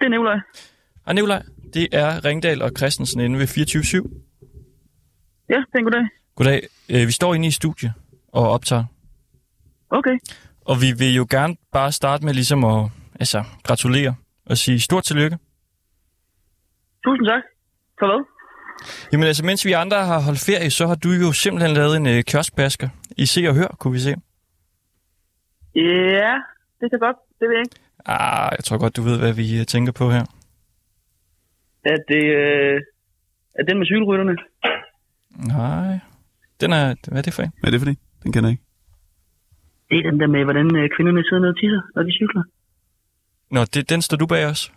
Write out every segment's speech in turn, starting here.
er Nevløj. Hej Nicolaj, det er Ringdal og Christensen inde ved 24-7. Ja, det er en god dag. Goddag, øh, vi står inde i studie og optager, Okay. og vi vil jo gerne bare starte med ligesom at altså, gratulere og sige stort tillykke. Tusind tak. For hvad? Jamen altså, mens vi andre har holdt ferie, så har du jo simpelthen lavet en øh, kioskbasker i Se og Hør, kunne vi se. Ja, det kan godt. Det ved jeg ikke. Ah, jeg tror godt, du ved, hvad vi øh, tænker på her. Er det, øh, er den med cykelrytterne? Nej, den er, hvad er det for en? Hvad er det for det? Den kender jeg ikke. Det er den der med, hvordan øh, kvinderne sidder ned og tisser, når de cykler. Nå, det, den står du bag os.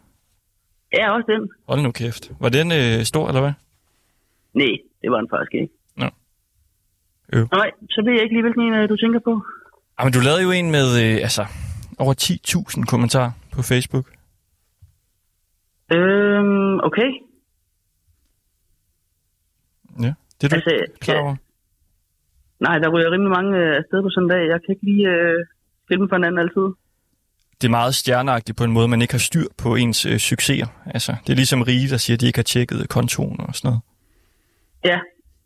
Ja, også den. Hold nu kæft. Var den øh, stor, eller hvad? Nej, det var den faktisk ikke. Nå. Øv. Nej, så ved jeg ikke lige, hvilken en øh, du tænker på. Jamen, Ah, du lavede jo en med, øh, altså, over 10.000 kommentarer på Facebook. Øhm, okay. Ja, det er du Altså, altså, klar ja. over. Nej, der ryger rimelig mange øh, afsted på sådan en dag. Jeg kan ikke lige øh, skille dem fra hinanden altid. Det er meget stjerneagtigt på en måde, man ikke har styr på ens øh, succeser. Altså, det er ligesom rige, der siger, at de ikke har tjekket kontoen og sådan noget. Ja,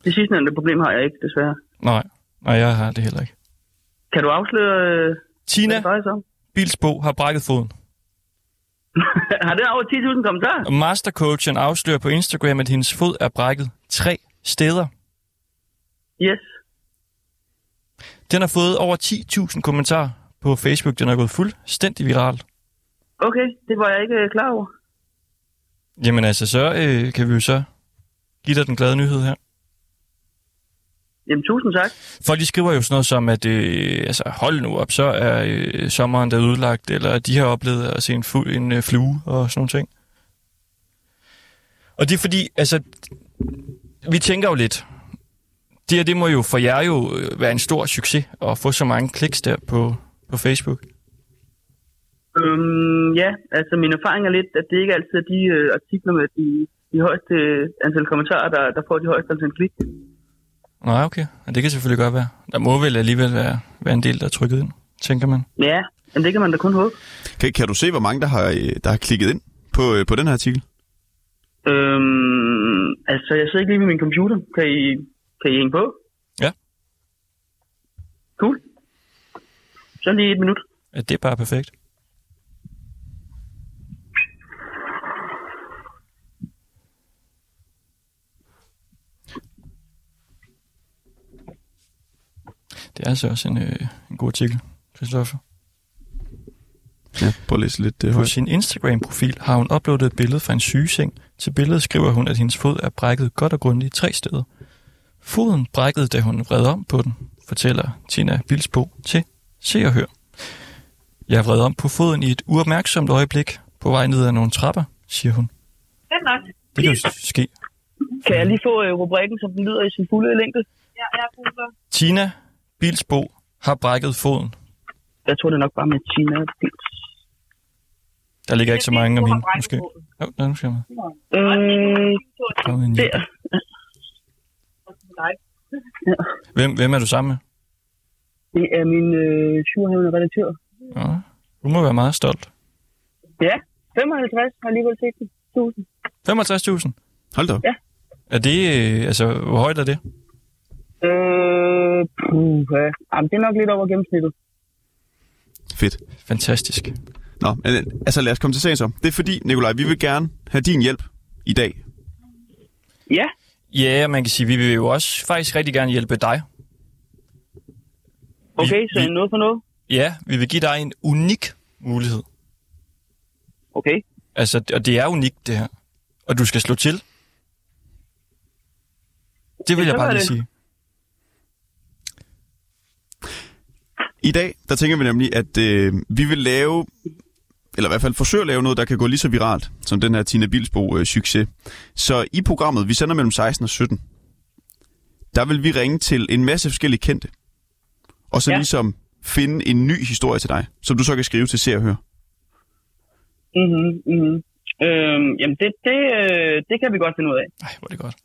det sidste problem har jeg ikke, desværre. Nej, nej, jeg har det heller ikke. Kan du afsløre, øh, hvad Tina det drejer sig om? Bilsbo har brækket foden. har det over 10.000 kommentarer? Og mastercoachen afslører på Instagram, at hendes fod er brækket tre steder. Yes. Den har fået over 10.000 kommentarer på Facebook. Den er gået fuldstændig viral. Okay, det var jeg ikke øh, klar over. Jamen altså, så øh, kan vi jo så give dig den glade nyhed her. Jamen, tusind tak. Folk de skriver jo sådan noget som, at øh, altså, hold nu op, så er øh, sommeren der udlagt, eller de har oplevet at se en, fu- en øh, flue og sådan nogle ting. Og det er fordi, altså, vi tænker jo lidt, det her, det må jo for jer jo øh, være en stor succes at få så mange kliks der på, på Facebook. Øhm, ja, altså min erfaring er lidt, at det ikke altid er de øh, artikler med de, de højeste øh, antal kommentarer, der, der får de højeste antal klik. Nej, okay. Og det kan selvfølgelig godt være. Der må vel alligevel være, være en del, der er trykket ind, tænker man. Ja, men det kan man da kun håbe. Kan, kan du se, hvor mange, der har, øh, der har klikket ind på, øh, på den her artikel? Øhm, altså, jeg sidder ikke lige ved min computer. Kan I, kan I hænge på? Ja. Cool. Så lige et minut. At det er bare perfekt. Det er altså også en, øh, en god artikel, Christoffer. Ja, prøv at læse lidt øh, På højt. sin Instagram-profil har hun uploadet et billede fra en sygeseng. Til billedet skriver hun, at hendes fod er brækket godt og grundigt i tre steder. Foden brækkede, da hun vred om på den, fortæller Tina Bilsbo til Se og Hør. Jeg vred om på foden i et uopmærksomt øjeblik på vej ned ad nogle trapper, siger hun. Fedt nok. Det kan jo ske. Kan jeg lige få øh, rubrikken, som den lyder i sin fulde længde? Ja, jeg er Tina Bilsbo har brækket foden. Jeg tror det er nok bare med Tina Pils. Der ligger ikke så mange om hende, måske. Jo, der er måske mig. Øh, Kom ind, der. Jeppe. Hvem, hvem er du sammen med? Det er min øh, surhavende redaktør. Ja. Du må være meget stolt. Ja, 55 har alligevel set den. 1000. 65.000. Hold da op. Ja. Er det, øh, altså, hvor højt er det? Øh, puh, ja. Jamen, det er nok lidt over gennemsnittet. Fedt. Fantastisk. Nå, men, øh, altså lad os komme til sagen så. Det er fordi, Nikolaj, vi vil gerne have din hjælp i dag. Ja, Ja, og man kan sige, vi vil jo også faktisk rigtig gerne hjælpe dig. okay, Vi- så vi- noget for noget. Ja, vi vil give dig en unik mulighed. Okay, Altså, og det er unikt, det her. Og du skal slå til. Det vil jeg Ja, sådan er bare lige det. sige. I dag, der tænker vi nemlig, at øh, vi vil lave, eller i hvert fald forsøge at lave noget, der kan gå lige så viralt, som den her Tina Bilsbo øh, succes. Så i programmet, vi sender mellem 16 og 17, der vil vi ringe til en masse forskellige kendte, og så ja. Ja. ligesom finde en ny historie til dig, som du så kan skrive til Se og Hør. mhm, mhm. Øhm, jamen, det, det, øh, det kan vi godt finde ud af. Ej, hvor er det godt.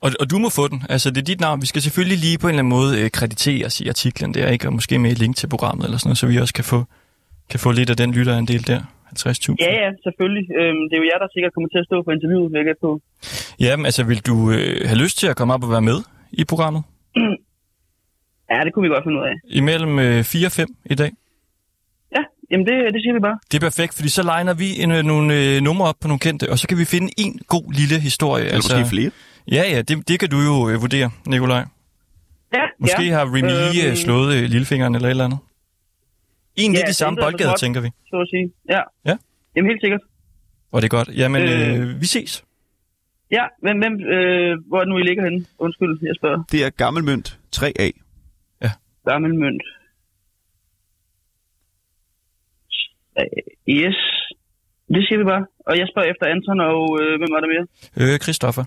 Og, og du må få den. Altså, det er dit navn. Vi skal selvfølgelig lige på en eller anden måde øh, krediteres i artiklen der, ikke? Og måske med et link til programmet eller sådan noget, så vi også kan få kan få lidt af den lytterandel der, 50.000. Ja, ja, selvfølgelig. Øhm, det er jo jer, der sikkert kommer til at stå på interviewet, vil jeg gætte på. Jamen, altså, vil du øh, have lyst til at komme op og være med i programmet? Ja, det kunne vi godt finde ud af. Imellem øh, 4 og 5 i dag. Ja, jamen det, det siger vi bare. Det er perfekt, fordi så legner vi en, øh, nogle øh, numre op på nogle kendte, og så kan vi finde en god lille historie. Altså, Eller måske flere. Ja, ja, det, det kan du jo øh, vurdere, Nikolaj. Ja, Måske ja. ja. har Remy øh, Øhm. slået øh, lillefingeren eller et eller andet. En lidt Ja, i samme det lyder boldgade, godt. tænker vi. så at sige. Ja. Ja. Jamen helt sikkert. Og det er godt. Jamen, Øh. øh, vi ses. Ja, hvem, hvem, øh, hvor er det nu, I ligger henne? Undskyld, jeg spørger. Det er Gammelmønt 3A. Gammel mønt. Øh, Yes. Det siger vi bare. Og jeg spørger efter Anton, og øh, hvem var der mere? Øh, Christoffer.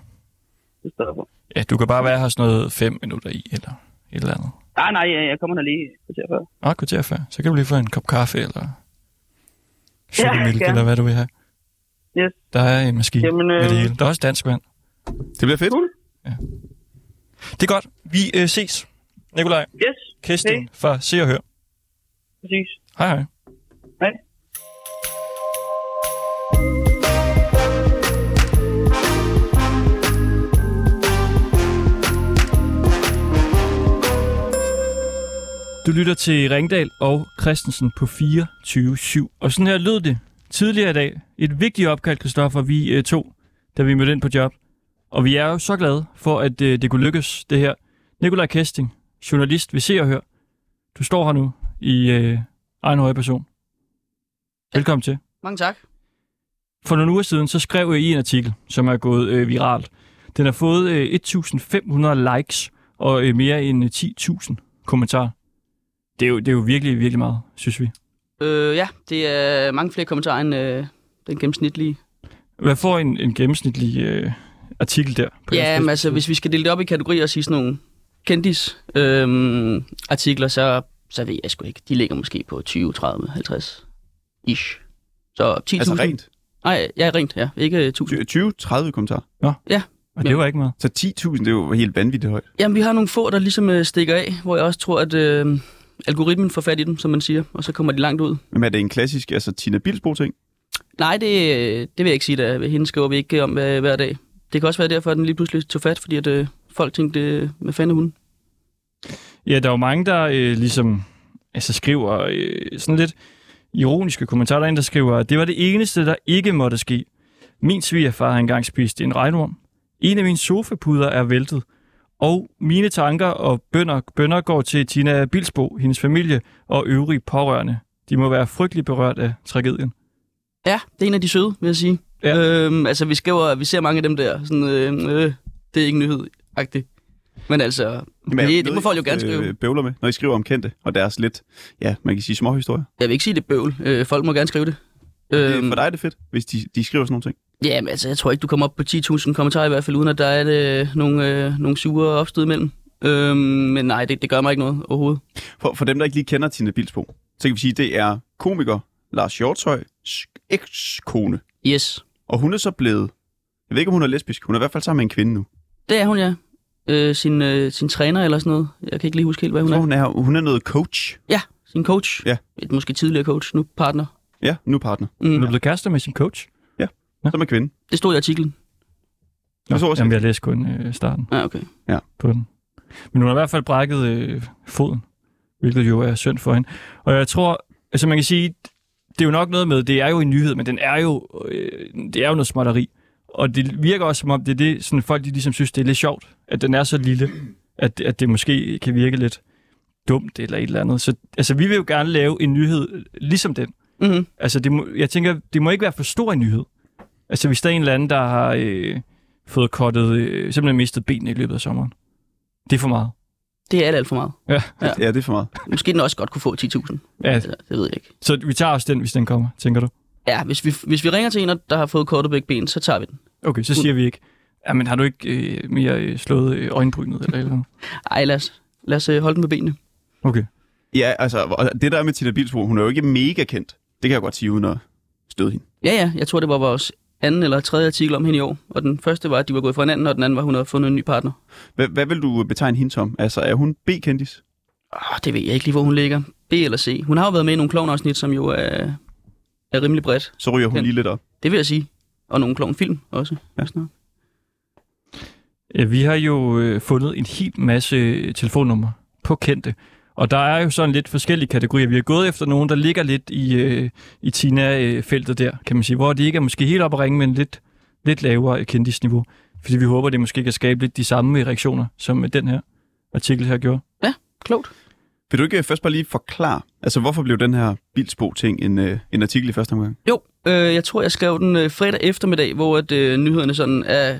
Det står der på. Ja, du kan bare være her sådan noget fem minutter i, eller et eller andet. Nej, Ah, nej, jeg, jeg kommer der lige et kvarter før. Og et kvarter før. Så kan du lige få en kop kaffe, eller chokemælk, gerne. eller hvad du vil have. Yes. Der er en maskine Jamen, øh, med det hele. Der er også dansk vand. Det bliver fedt. Det er godt. Vi øh, ses. Nikolaj, Yes, Kristin Okay. fra Se og Hør. præcis. Hej hej. Hej. Du lytter til Ringdal og Christensen på 24.7. Og sådan her lød det tidligere i dag. Et vigtigt opkald, Kristoffer, vi øh, tog, da vi mødte ind på job. Og vi er jo så glade for, at øh, det kunne lykkes, det her. Nikolaj Kesting, journalist ved Se og Hør. Du står her nu i øh, egen høje person. Velkommen til. Mange tak. For nogle uger siden, så skrev jeg i en artikel, som er gået øh, viralt. Den har fået øh, 1.500 likes og øh, mere end 10.000 kommentarer. Det er, jo, det er jo virkelig, virkelig meget, synes vi. Øh, ja, det er mange flere kommentarer end øh, den gennemsnitlige. Hvad får en, en gennemsnitlig øh, artikel der? På jeres Ja, men Facebook? altså, hvis vi skal dele det op i kategorier og sige sådan nogle kendis øh, artikler, så, så ved jeg sgu ikke. De ligger måske på 20, 30, 50 ish. Så 10.000. Altså rent. Nej, ja, rent, ja. Ikke øh, 1.000. 20-30 kommentarer. Og det var ikke meget. Så 10.000, det er jo helt vanvittigt højt. Jamen, vi har nogle få, der ligesom øh, stikker af, hvor jeg også tror, at øh, algoritmen får fat i dem, som man siger, og så kommer de langt ud. Men er det en klassisk, altså Tina Bilsbo-ting? Nej, det, øh, det vil jeg ikke sige, da hende skriver vi ikke om øh, hver, hver dag. Det kan også være derfor, at den lige pludselig tog fat, fordi at, øh, folk tænkte, øh, hvad fanden er hun? Ja, der er jo mange, der øh, ligesom altså skriver øh, sådan lidt ironiske kommentarer. Der er en, der skriver, at det var det eneste, der ikke måtte ske. Min svigerfar har engang spist en regnorm. En af mine sofapuder er væltet. Og mine tanker og bønder, bønder går til Tina Bilsbo, hendes familie og øvrige pårørende. De må være frygtelig berørt af tragedien. Ja, det er en af de søde, vil jeg sige. Ja. Øhm, altså, vi skriver, vi ser mange af dem der, sådan, øh, øh, det er ikke nyhed -agtigt. Men altså, Jamen, er det, det noget, må I, folk jo gerne skrive. Øh, bøvler med, når I skriver om kendte, og deres lidt, ja, man kan sige småhistorier. Jeg vil ikke sige, det er bøvl. Øh, folk må gerne skrive det. Øhm, for dig er det fedt, hvis de, de skriver sådan nogle ting. Ja, men altså, jeg tror ikke, du kommer op på 10.000 kommentarer i hvert fald, uden at der er øh, nogle, øh, nogle sure opstød imellem. Øhm, men nej, det, det gør mig ikke noget overhovedet. For, for dem, der ikke lige kender Tina Bilsbo, så kan vi sige, det er komiker Lars Hjortøjs ekskone. Yes, Og hun er så blevet, jeg ved ikke, om hun er lesbisk, hun er i hvert fald sammen med en kvinde nu. det er hun, ja. Øh, sin, øh, sin træner eller sådan noget. Jeg kan ikke lige huske helt, hvad hun Hun er, er. hun er, hun er noget coach. Ja, sin coach. Ja. Et måske tidligere coach, nu partner. Ja, nu partner. Hun Mm. er blevet kærester med sin coach. Som er kvinde. Det stod i artiklen. Nå, så også- jamen, jeg læste kun øh, starten. Ja, okay. på den. Men hun har i hvert fald brækket øh, foden, hvilket jo er synd for hende. Og jeg tror, altså man kan sige, det er jo nok noget med, det er jo en nyhed, men den er jo, øh, det er jo noget småtteri. Og det virker også som om, det er det, sådan folk de ligesom synes, det er lidt sjovt, at den er så lille, at, at det måske kan virke lidt dumt eller et eller andet. Så altså, vi vil jo gerne lave en nyhed øh, ligesom den. Mm-hmm. Altså, det må, jeg tænker, det må ikke være for stor en nyhed. Altså, hvis der er en eller anden, der har øh, fået kottet, øh, simpelthen mistet benene i løbet af sommeren. Det er for meget. Det er alt, alt for meget. Ja. Ja. ja, det er for meget. Måske den også godt kunne få 10.000. Ja, Altså, det ved jeg ikke. så vi tager også den, hvis den kommer, tænker du? Ja, hvis vi, hvis vi ringer til en, der har fået kortet begge ben, så tager vi den. Okay, så siger vi ikke, jamen har du ikke øh, mere øh, slået øh, øjenbrynet eller et eller andet? Ej, lad os, lad os øh, holde den med benene. Okay. Ja, altså, og det der er med Tina Bilsbo, hun er jo ikke mega kendt. Det kan jeg godt sige, uden at støde hende. Ja, ja, jeg tror, det var vores anden eller tredje artikel om hende i år. Og den første var, at de var gået fra hinanden, og den anden var, at hun havde fundet en ny partner. Hvad, hvad vil du betegne hende som? Altså, er hun B-kendis? Oh, det ved jeg ikke lige, hvor hun ligger. B eller C. Hun har jo været med i nogle klovnafsnit, som jo er, er rimelig bredt. Så ryger hun Den- lige lidt op. Det vil jeg sige. Og nogle klovnfilm også. Ja. Sådan Ja, Vi har jo øh, fundet en hel masse øh, telefonnumre på kendte. Og der er jo sådan lidt forskellige kategorier. Vi har gået efter nogen, der ligger lidt i, øh, i Tina-feltet der, kan man sige. Hvor de ikke er måske helt op at ringe, men lidt, lidt lavere øh, kendisniveau. Fordi vi håber, det måske kan skabe lidt de samme reaktioner, som øh, den her artikel her gjorde. Klogt. Vil du ikke øh, først bare lige forklare, altså hvorfor blev den her bilsbo-ting en, øh, en artikel i første omgang? Jo, øh, jeg tror, jeg skrev den øh, fredag eftermiddag, hvor at, øh, nyhederne sådan er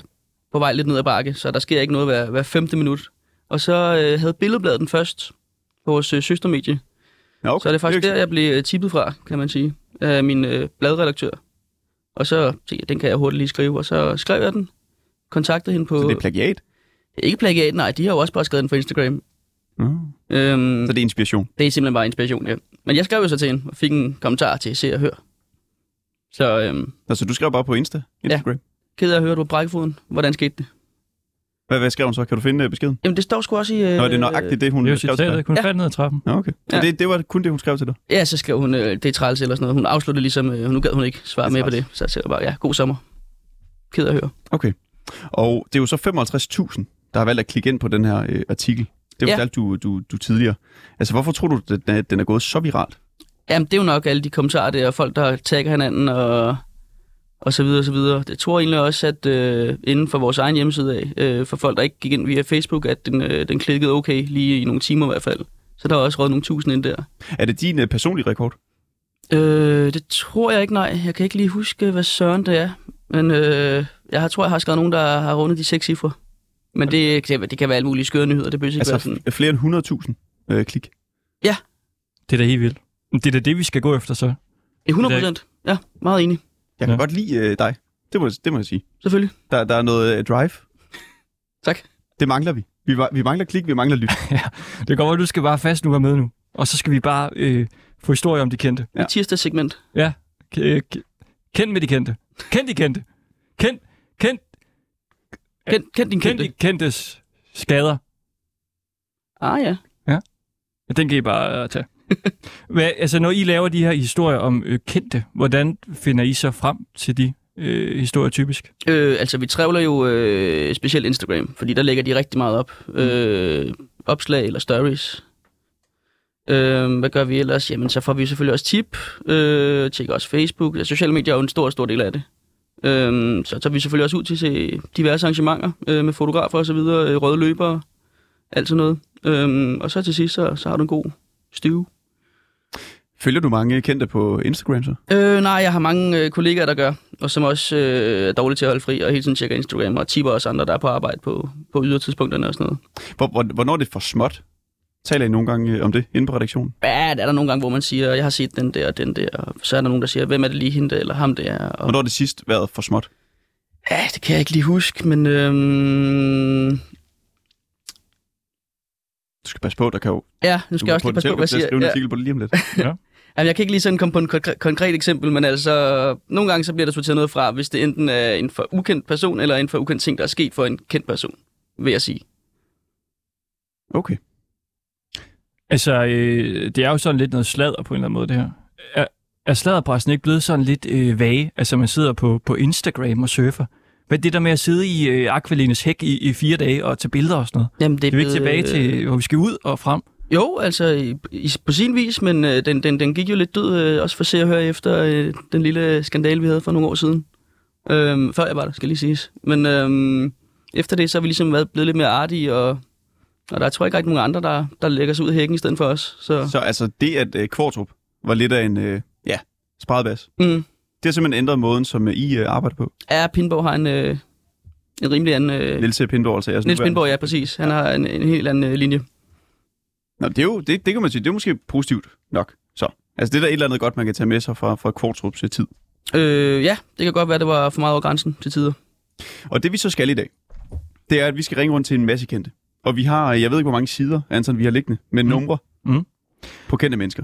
på vej lidt ned ad bakke, så der sker ikke noget hver, hver femte minut. Og så øh, havde Billedbladet den først på vores øh, søstermedie. Ja, okay. Okay, så er det faktisk ikke- der, jeg blev øh, tippet fra, kan man sige, af min øh, bladredaktør. Og så tænkte jeg, den kan jeg hurtigt lige skrive, og så skrev jeg den. Kontaktede hende på... Så det er plagiat? Ikke plagiat, nej, de har jo også bare skrevet den på Instagram. Mm. Øhm, Så det er inspiration. det er simpelthen bare inspiration, ja. Men jeg skrev jo så til hende, og fik en kommentar til Se og Hør. Så øhm, Altså, du skrev bare på Insta, Instagram. Ja. ked af at høre, du har brækket foden. Hvordan skete det? Hvad, hvad skrev hun så? Kan du finde øh, beskeden? Jamen, det står sgu også i... Øh, Nå, er det nøjagtigt det, hun Det er jo skrev til dig? citatet, kun Ja. ja. faldt ned ad trappen. Nå, okay. Så Ja. det, det var kun det, hun skrev til dig? Ja, så skrev hun, øh, det er træls eller sådan noget. Hun afsluttede ligesom, øh, nu gad hun ikke svare Det er mere på det. Så jeg skrev bare, ja, god sommer. Ked af at høre. Okay. Og det er jo så 55.000, der har valgt at klikke ind på den her øh, artikel. Det Ja. var ja. du, du, du tidligere. Altså, hvorfor tror du, at den er, den er gået så viralt? Jamen, det er jo nok alle de kommentarer der, og folk, der tagger hinanden og, og så videre og så videre. Jeg tror egentlig også, at øh, inden for vores egen hjemmeside af, øh, for folk, der ikke gik ind via Facebook, at den, øh, den klikkede okay, lige i nogle timer i hvert fald. Så der er også råd nogle tusind ind der. Er det din øh, personlige rekord? Øh, det tror jeg ikke, nej. Jeg kan ikke lige huske, hvad søren det er. Men øh, jeg har, tror, jeg har skrevet nogen, der har rundet de seks cifre. Men det, det, det kan være alle mulige skøre nyheder, det behøver ikke altså, være Altså, sådan. f- flere end 100.000 øh, klik. Det er da helt vildt. Men Det er da det, vi skal gå efter så. 100 procent. Ja, meget enig. Jeg kan ja. Ja. godt lide øh, dig. Det må, jeg- det må jeg sige. Selvfølgelig. Der, der er noget øh, drive. Tak. Det mangler vi. Vi, va- vi mangler klik, vi mangler lyt. Det går godt, du skal bare fast nu og med nu. Og så skal vi bare øh, få historier om de kendte. Ja. Ja. Tirsdags segment. Ja. K- øh, k- Kend med de kendte. Kend de kendte. Kend, kend, Kend, kend din kend de kendte. kendtes skader. Ah ja. Den kan I bare øh, tage. Hvad, altså, når I laver de her historier om øh, kendte, hvordan finder I så frem til de øh, historier typisk? Øh, altså, vi trævler jo øh, specielt Instagram, fordi der lægger de rigtig meget op. Øh, opslag eller stories. Øh, hvad gør vi ellers? Jamen, så får vi selvfølgelig også tip. Øh, tjekker også Facebook. Ja, Sociale medier er jo en stor, stor del af det. Øh, så tager vi selvfølgelig også ud til at se diverse arrangementer øh, med fotografer og så videre, øh, røde løbere, alt sådan noget. Øh, og så til sidst, så, så har du en god stue. Følger du mange kendte på Instagram så? Øh, nej, jeg har mange øh, kollegaer, der gør, og som også øh, er dårlige til at holde fri, og hele tiden tjekker Instagram, og tipper også andre, der er på arbejde på, på ydertidspunkterne og sådan noget. Hvor, hvor, hvornår er det for småt? Taler I nogle gange øh, om det inde på redaktionen? Ja, der er der nogle gange, hvor man siger, jeg har set den der og den der, og så er der nogen, der siger, hvem er det lige hende der, eller ham der. Og, Hvornår har det sidst været for småt? ja, det kan jeg ikke lige huske, men øhm, Du skal passe på, der kan jo... ja, nu Du skal jeg også lige passe på, hvad jeg siger. jeg skrive en Ja. artikel på det lige om lidt. Jamen, jeg kan ikke lige sådan komme på et konkre- konkret eksempel, men altså, nogle gange så bliver der sorteret noget fra, hvis det enten er en for ukendt person, eller en for ukendt ting, der er sket for en kendt person, vil jeg sige. Okay. Altså, øh, det er jo sådan lidt noget sladder på en eller anden måde, det her. Er, er sladderpressen ikke blevet sådan lidt øh, vage? Altså, man sidder på, på Instagram og surfer. Hvad er det der med at sidde i øh, Aqualines hæk i, i fire dage og tage billeder og sådan noget? Jamen, det Det er vi ikke tilbage blevet, øh, til, hvor vi skal ud og frem. Jo, altså i, i, på sin vis, men øh, den, den, den gik jo lidt død, øh, også for se og høre efter øh, den lille skandale, vi havde for nogle år siden. Øhm, før jeg var der, skal lige siges. Men øhm, efter det, så har vi ligesom været blevet lidt mere artige, og, og der tror jeg ikke rigtig nogen andre, der, der lægger sig ud i hækken i stedet for os. Så, Så altså det, at øh, Kvartrup var lidt af en, øh, ja, sparedbas, mm, det har simpelthen ændret måden, som øh, I øh, arbejder på. er Pindborg har en, øh, en rimelig anden... Øh, Niels Pindborg, altså jeres Niels nuværende- Pindborg, ja, præcis. Han har en, en helt anden øh, linje. Nå, det, er jo, det, det kan man sige, det er måske positivt nok. Så. Altså det er der et eller andet godt, man kan tage med sig fra, fra Kvartrups øh, tid. Øh, ja, det kan godt være, det var for meget over grænsen til tider. Og det vi så skal i dag, det er, at vi skal ringe rundt til en masse kendte. Og vi har, øh, jeg ved ikke, hvor mange sider, Anton, vi har liggende, men mm. numre Mm. på kendte mennesker.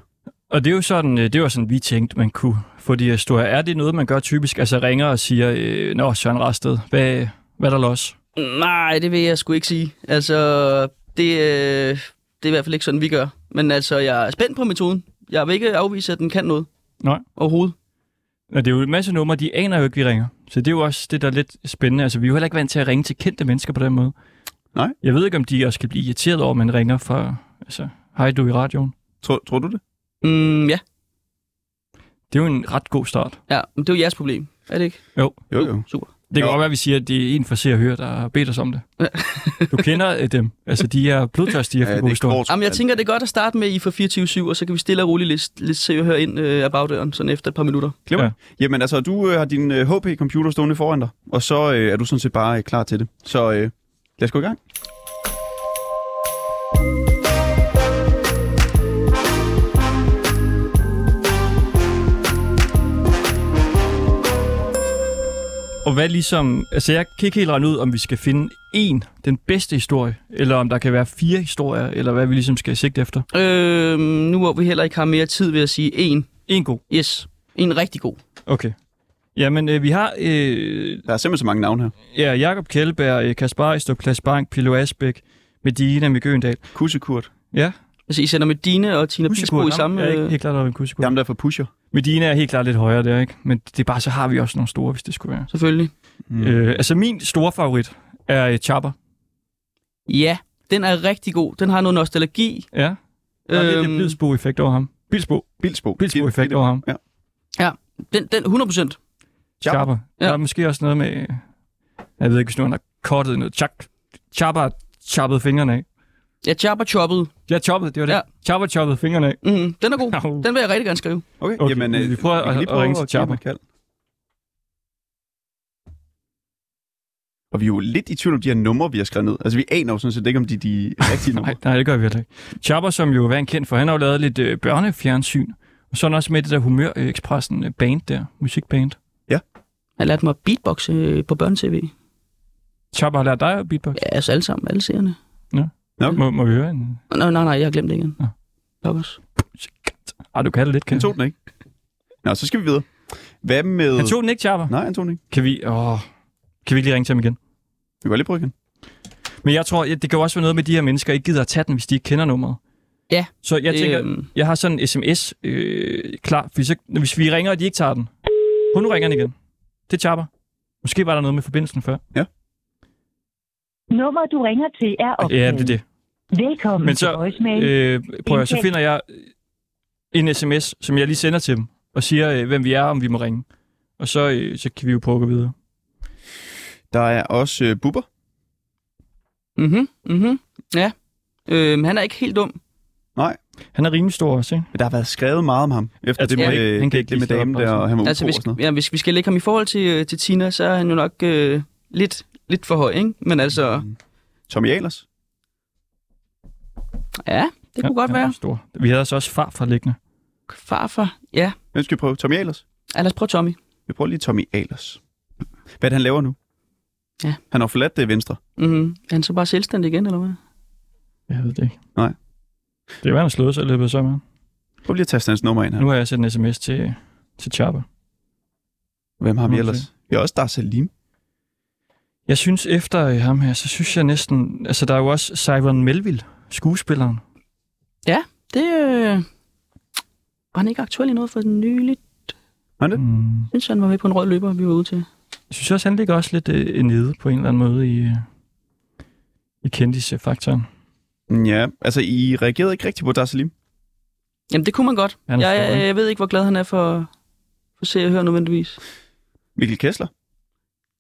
Og det er jo sådan, øh, det var sådan, vi tænkte, man kunne få de her historier. Er det noget, man gør typisk? Altså ringer og siger, øh, Nå, Søren Rasted, hvad, hvad er der los? Nej, det vil jeg sgu ikke sige. Altså, det, øh, det er i hvert fald ikke sådan, vi gør. Men altså, jeg er spændt på metoden. Jeg vil ikke afvise, at den kan noget Nej. overhovedet. Og det er jo en masse numre, de aner jo ikke, vi ringer. Så det er jo også det, der er lidt spændende. Altså, vi er jo heller ikke vant til at ringe til kendte mennesker på den måde. Nej. Jeg ved ikke, om de også kan blive irriteret over, at man ringer fra... Altså, hej du er i radioen. Tror, tror du det? Mm, ja. Det er jo en ret god start. ja, men det er jo jeres problem. Er det ikke? Jo, Jo, jo. Super. det kan Jo. godt være, at vi siger, at det er en fra Se og Hør, der har bedt os om det. du kender øh, dem. Altså, de er blodtørstige Ja, for det gode er historier. kort. Jamen, jeg tænker, det er godt at starte med, I får 24-7, og så kan vi stille og roligt lidt, lidt se og høre ind øh, af bagdøren, sådan efter et par minutter. Glimmer. Ja. Jamen altså, du øh, har din øh, HP-computer stående foran dig, og så øh, er du sådan set bare øh, klar til det. Så øh, lad os gå i gang. Og hvad ligesom... Altså, jeg kan ikke helt regne ud, om vi skal finde en, den bedste historie, eller om der kan være fire historier, eller hvad vi ligesom skal sigte efter. Øh, nu hvor vi heller ikke har mere tid, vil jeg sige en. En god. Yes, en rigtig god. Okay. Jamen, øh, vi har øh, Der er simpelthen så mange navne her. ja, Jakob Kjellberg, øh, Kasper Ejstrup, Klas Bank, Pilo Asbæk, Medina, Mikke Øendal. Kussekurt. Ja, Altså, I sender med Dine og Tina Pilsbo i samme... Jeg er ikke Øh, helt klar, der var en Kusikur. Jamen, der er for pusher. Medina er helt klart lidt højere der, ikke? Men det er bare, så har vi også nogle store, hvis det skulle være. selvfølgelig. Mm. Øh, altså, min store favorit er øh, Chopper. Ja, den er rigtig god. Den har noget nostalgi. Ja, der er lidt Øhm, en bilsbo-effekt over ham. Bilsbo. Bilsbo. Bilsbo-effekt over ham. Den, den 100 Chopper. Chopper. Ja. Der er måske også noget med... øh, Jeg ved ikke, hvis nu han har kortet noget. Chak. Chopper har choppet fingrene af. Ja, Chopper Choppet. Ja, choppet, det var det. Ja. Ja. Chopper choppet fingrene af. Mm, den er god. Au. Den vil jeg rigtig gerne skrive. Okay, Okay, jamen, øh, vi prøver kan at- lige at ringe til give ham Chopper. et kald. Og vi er jo lidt i tvivl om de her numre, vi har skrevet ned. Altså, vi aner jo sådan set ikke, om de er de rigtige Nej, numre. nej, det gør vi heller ikke. Chopper, som jo er en kendt for, han har jo lavet lidt øh, børnefjernsyn. Og så er han også med i det der Humør-Expressen øh, band der, musikband. Jeg lærte mig at beatboxe øh, på børnetv. Chopper har lært dig at beatbox. Ja, altså alle sammen, alle seerne. Ja. Må, må vi høre en? Nå, nej, nej, jeg har glemt det igen. Nå. Pokkers. Ah, du kan det lidt, Han kan tog den ikke. Nå, så skal vi videre. Hvad med... Han tog den ikke, Chopper. Nej, han tog den ikke. Kan vi, åh, kan vi ikke lige ringe til ham igen? Vi kan godt lige prøve igen. Men jeg tror, ja, det kan jo også være noget med, at de her mennesker ikke gider at tage den, hvis de ikke kender nummeret. Ja. Så jeg tænker, Øhm. jeg har sådan en sms øh, klar, fordi så, hvis vi ringer, og de ikke tager den. Hun nu ringer den igen. Det er Chopper. Måske var der noget med forbindelsen før. Nummer, du ringer til, er optaget. Ja, det er det. Velkommen Men til så, voicemail. øh, prøv at, så Indtægt. finder jeg en sms, som jeg lige sender til dem, og siger, øh, hvem vi er, om vi må ringe. Og så, øh, så kan vi jo prøve at gå videre. Der er også øh, Bubber. Mhm, mhm. Ja. Øhm, han er ikke helt dum. Han er rimelig stor også, ikke? Men der har været skrevet meget om ham. Ja, Efter det det med, må ikke- øh, han kan ikke det med lige stå damen op og der, og han var altså, altså, hvis, og sådan noget. ja, hvis vi skal lægge ham i forhold til, øh, til Tina, så er han jo nok øh, lidt, lidt for høj, ikke? Men altså, Mm. Tommy Ahlers. ja, det kunne godt han er være. også Stor. Vi havde altså også far fra liggende. Farfar, ja. Hvem skal vi prøve? Tommy Ahlers? ja. Lad os prøve Tommy. Vi prøver lige Tommy Ahlers. Hvad er det, han laver nu? Ja. Han har forladt det venstre. Mhm. Er han så bare selvstændig igen, eller hvad? Jeg ved det ikke. Nej. Det var, han har slået sig i løbet af sommeren. Prøv lige at taste hans nummer ind Ja. her. Nu har jeg sendt en sms til, til Chopper. Hvem Nu har vi må vi ellers? Vi har også Dar Salim. Jeg synes efter øh, ham her, så synes jeg næsten... Altså, der er jo også Simon Melville, skuespilleren. Det øh, var han ikke aktuel i noget for nyligt. Mm. Jeg synes, han var med på en rød løber, vi var ude til. Jeg synes også, han ligger også lidt øh, nede på en eller anden måde i, øh, i kendisfaktoren. Ja, altså I reagerede ikke rigtigt på Dar Salim. Jamen, det kunne man godt. Han er Jeg, stor, jeg, ikke? jeg ved ikke, hvor glad han er for, for se og høre nødvendigvis. Mikkel Kessler.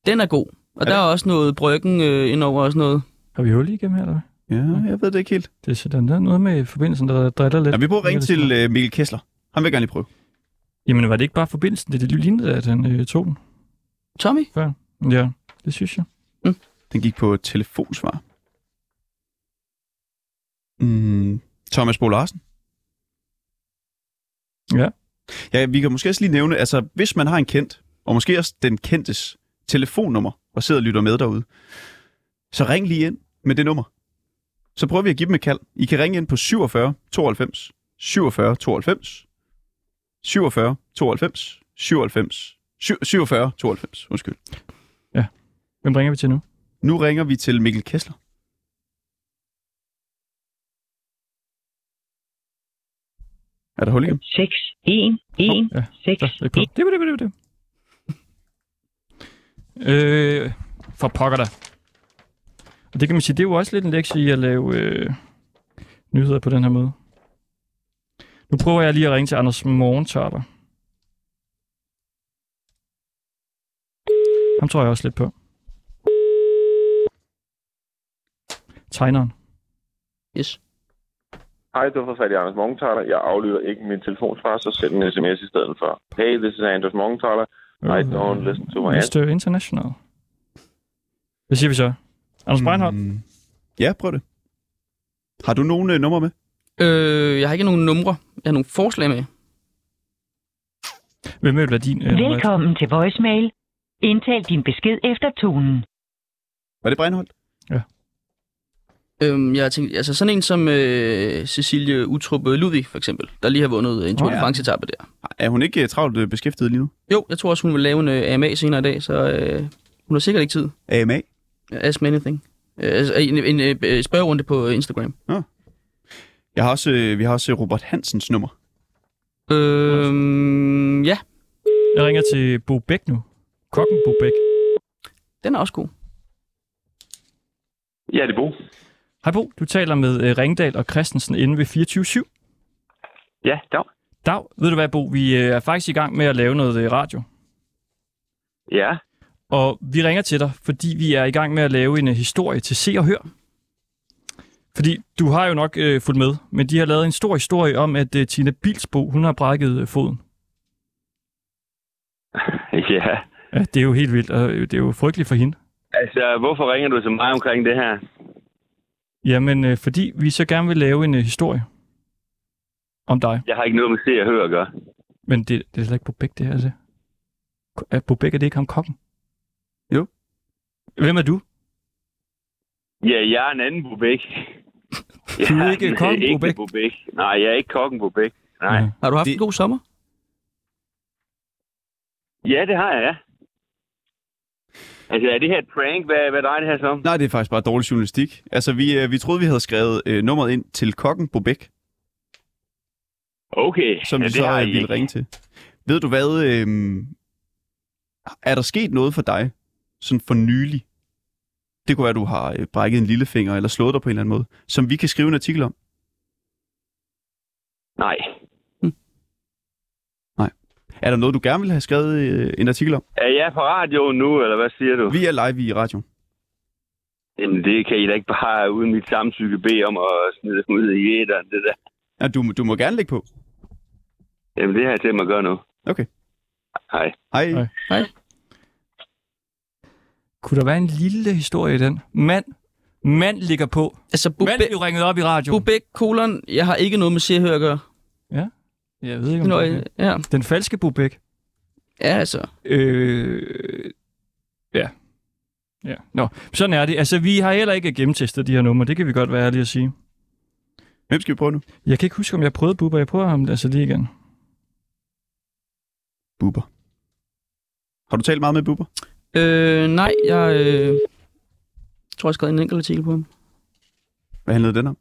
Den er god. Og Er der er også noget bryggen øh, indover også noget. Har vi hul igennem her, eller hvad? Ja, jeg ved det ikke helt. Det er sådan, der er noget med forbindelsen, der driller lidt. Ja, vi prøver at ringe Det er lidt til øh, Mikkel Kessler. Han vil jeg gerne lige prøve. svært. Jamen, var det ikke bare forbindelsen? Det, det lignede, at han øh, tog den. Tommy? Ja, det synes jeg. Den gik på telefonsvar. Mm, Thomas Bo Larsen. Ja. Ja, vi kan måske også lige nævne, altså hvis man har en kendt, og måske også den kendtes telefonnummer, og sidder og lytter med derude, så ring lige ind med det nummer. Så prøver vi at give dem et kald. I kan ringe ind på 47 92 47 92 47 92 97 47 92, undskyld. Hvem ringer vi til nu? Nu ringer vi til Mikkel Kessler. Er der hul igennem? 6, 1, 1, ja. 6, Der, det er på. Det var det, var det, var det. Øh, for pokker dig. Og det kan man sige, det er jo også lidt en lektie i at lave øh, nyheder på den her måde. Nu prøver jeg lige at ringe til Anders Morgentørter. Ham tror jeg også lidt på. Tegneren. Yes. Hej, du har fået fat i Anders Morgenthaler. Jeg aflytter ikke min telefonsvar, så send en sms i stedet for. Hey, this is Anders Morgenthaler. I don't listen to my ads. Mr. International. Hvad siger vi så? Anders Breinholt? Mm. Ja, prøv det. Har du nogen øh, numre med? Øh, jeg har ikke nogen numre. Jeg har nogle forslag med. Hvem vil være din? Øh, nummer et? Velkommen til voicemail. Indtal din besked efter tonen. Var det Breinholt? Øhm, jeg har tænkt, altså sådan en som øh, Cecilie Utrup Ludvig, for eksempel, der lige har vundet øh, en Tour de ja. france etape der. Er hun ikke øh, travlt øh, beskæftiget lige nu? Jo, jeg tror også, hun vil lave en øh, AMA senere i dag, så øh, hun har sikkert ikke tid. AMA? Ask me anything. Øh, altså, en, en, en øh, spørgerunde på Instagram. Jeg har også, øh, vi har også øh, Robert Hansens nummer. Øhm, ja, Jeg ringer til Bo Bæk nu. Kokken Bo Bæk. den er også god. Ja, det er Bo. Hej Bo, du taler med øh, Ringdal og Christensen inde ved 24-7. Ja, dag. Dag, ved du hvad Bo, vi øh, er faktisk i gang med at lave noget øh, radio. Ja, Og vi ringer til dig, fordi vi er i gang med at lave en øh, historie til Se og Hør. Fordi du har jo nok øh, fulgt med, men de har lavet en stor historie om, at øh, Tina Bilsbo, hun har brækket øh, foden. ja. Ja, det er jo helt vildt, og øh, det er jo frygteligt for hende. Altså, hvorfor ringer du til mig omkring det her? Jamen, øh, fordi vi så gerne vil lave en øh, historie om dig. Jeg har ikke noget med se og høre at gøre. Men det, det er slet ikke Bobæk, det her, altså. Er Bobæk, er det ikke ham kokken? Jo. Hvem er du? Ja, jeg er en anden Bobæk. Du er ikke kongen på Bæk? Bobæk. Nej, jeg er ikke kokken Bobæk. Nej. Ja. Ja. Har du haft det... Det- en god sommer? ja, det har jeg, ja. Altså, er det her et prank? Hvad, hvad drejer det her som? Nej, det er faktisk bare dårlig journalistik. Altså, vi, øh, vi troede, vi havde skrevet øh, nummeret ind til kokken på Bæk, Okay. som ja, ja, vi så har øh, I ville ikke. ringe til. Ved du hvad? Øh, er der sket noget for dig, sådan for nylig? Det kunne være, at du har øh, brækket en lillefinger eller slået dig på en eller anden måde, som vi kan skrive en artikel om. Nej. Er der noget, du gerne vil have skrevet øh, en artikel om? Er jeg på radioen nu, eller hvad siger du? Vi er live i radioen. Jamen, det kan I da ikke bare uden mit samtykke bede om at smide dem ud i æderen, det der. Ja, du, du må gerne lægge på. Jamen, det har jeg tænkt mig at gøre nu. Okay. Hej. Hej. Hej. Hej. Kunne der være en lille historie i den? Mand, mand ligger på. Altså, Mand Bobæk, blev ringet op i radioen. Bobæk, kolon, jeg har ikke noget med se og høre at gøre. Jeg ved ikke, om Nå, det er. øh, ja. Den falske Bobæk. ja, altså. Øh, ja. Ja, nå. Sådan er det. Altså, vi har heller ikke gennemtestet de her numre. Det kan vi godt være ærlige at sige. Hvem skal vi prøve nu? Jeg kan ikke huske, om jeg prøvede Bubber. Jeg prøver ham altså lige igen. Bubber. Har du talt meget med Bubber? Øh, nej, jeg øh, tror, jeg skrev en enkelt artikel på ham. Hvad handlede den om?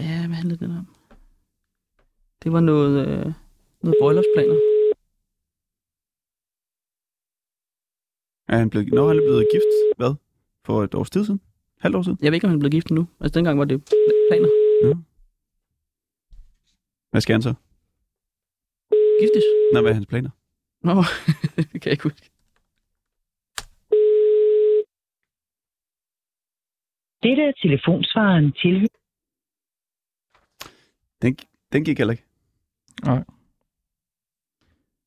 Ja, hvad handlede den om? Det var noget, øh, noget bryllupsplaner. Er han blevet, når han er blevet gift, hvad? For et års tid siden? Halvt år siden? Jeg ved ikke, om han er blevet gift nu. Altså, dengang var det planer. Hvad skal han så? Giftes? Nå, hvad er hans planer? Nå, det kan jeg ikke huske. Dette er telefonsvaren til. Den, den gik heller ikke.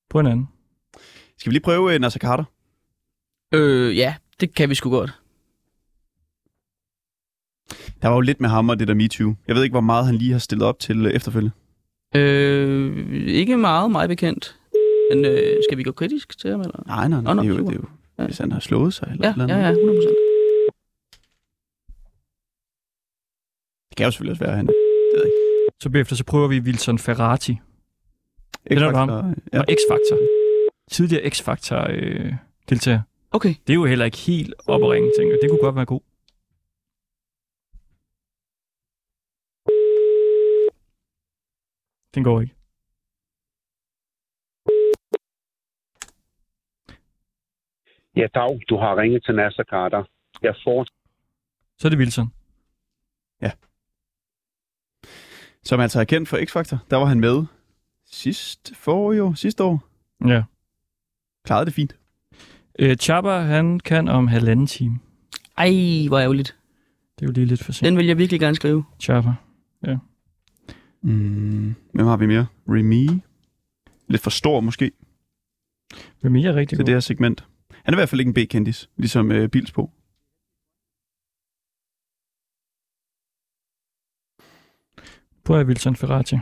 På en anden. Skal vi lige prøve uh, Nasser Carter? Øh, ja, det kan vi sgu godt. Der var jo lidt med ham og det der MeToo. Jeg ved ikke, hvor meget han lige har stillet op til uh, efterfølgende. Øh, ikke meget, mig bekendt. Men øh, skal vi gå kritisk til ham, eller? Nej, nej, Nå, nej. nå, det er jo, super. det er jo, Ja. hvis han har slået sig eller Ja, et eller andet. ja, ja, 100%. Det kan jo selvfølgelig også være, at han det ved jeg ikke. Så bagefter så prøver vi Wilson Ferrati. Det er ham. X-Factor, Ja. Ja. Og X-Factor. Tidligere X-Factor øh, deltager. Okay, Det er jo heller ikke helt op at ringe, tænker jeg. Det kunne godt være god. Den går ikke. Ja, Dag, du har ringet til Nasser Carter. Jeg får... Så er det Wilson. Som altså er kendt for X-Factor. Der var han med sidste forår jo. Sidste år. Ja. Klarede det fint. Øh, Chaba, han kan om halvanden time. Ej, hvor ærgerligt. Det er jo lige lidt for sent. Den vil jeg virkelig gerne skrive. Chaba. Mm. Hvem har vi mere? Remy. Lidt for stor måske Hvem er rigtig til god? det her segment. Han er i hvert fald ikke en B-kendis, ligesom øh, Bilsbo. Prøv at Wilson Ferrati.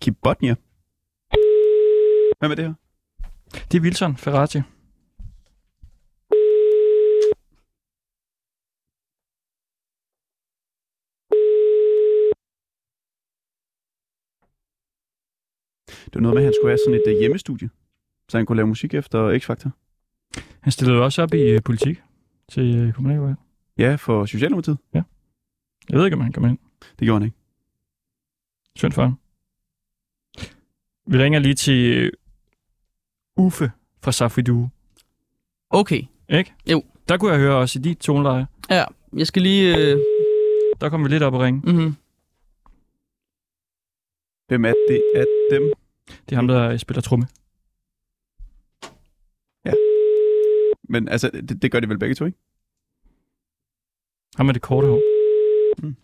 Kip Botnia. Hvem er det her? Det er Wilson Ferrati. Det var noget med, at han skulle have sådan et øh, hjemmestudie, så han kunne lave musik efter X-Factor. Han stillede jo også op i øh, politik til øh, kommunalvalg. Ja, for Socialdemokratiet. Jeg ved ikke, om han kommer ind. Det gjorde han ikke. Synd for ham. Vi ringer lige til øh, Uffe fra Safidue. Okay, Ikke? Jo. Der kunne jeg høre også i dit toneleje. ja. Jeg skal lige... Øh, Der kom vi lidt op og ringe. mm-hmm. Hvem er det af dem? Det er ham, der øh, spiller tromme. Men altså, det, det gør de vel begge to, ikke? Ham med det korte hår. Mm.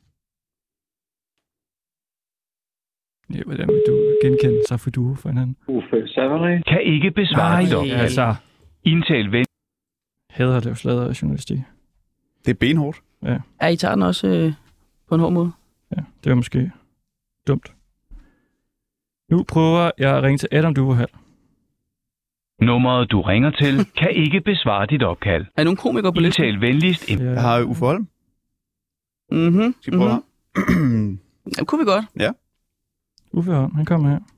Ja, hvordan vil du genkende Safidue for hinanden? Uffe Savary. Kan ikke besvare Nej, et dog. opkald. Altså, Indtal ven. hader at lave sladder af journalistik. Det er benhårdt. Ja, I tager den også øh, på en hård måde. Ja, det var måske dumt. Nu prøver jeg at ringe til Adam Duvohal. Nummeret, du ringer til, kan ikke besvare dit opkald. Er I nogen komikere på listen? Indtal venligst ind. Jeg har Uffe Holm. Mm-hmm. Skal vi prøve Mhm. mm-hmm. mm-hmm. Jamen, kunne vi godt. Uffe Holm, han kommer her.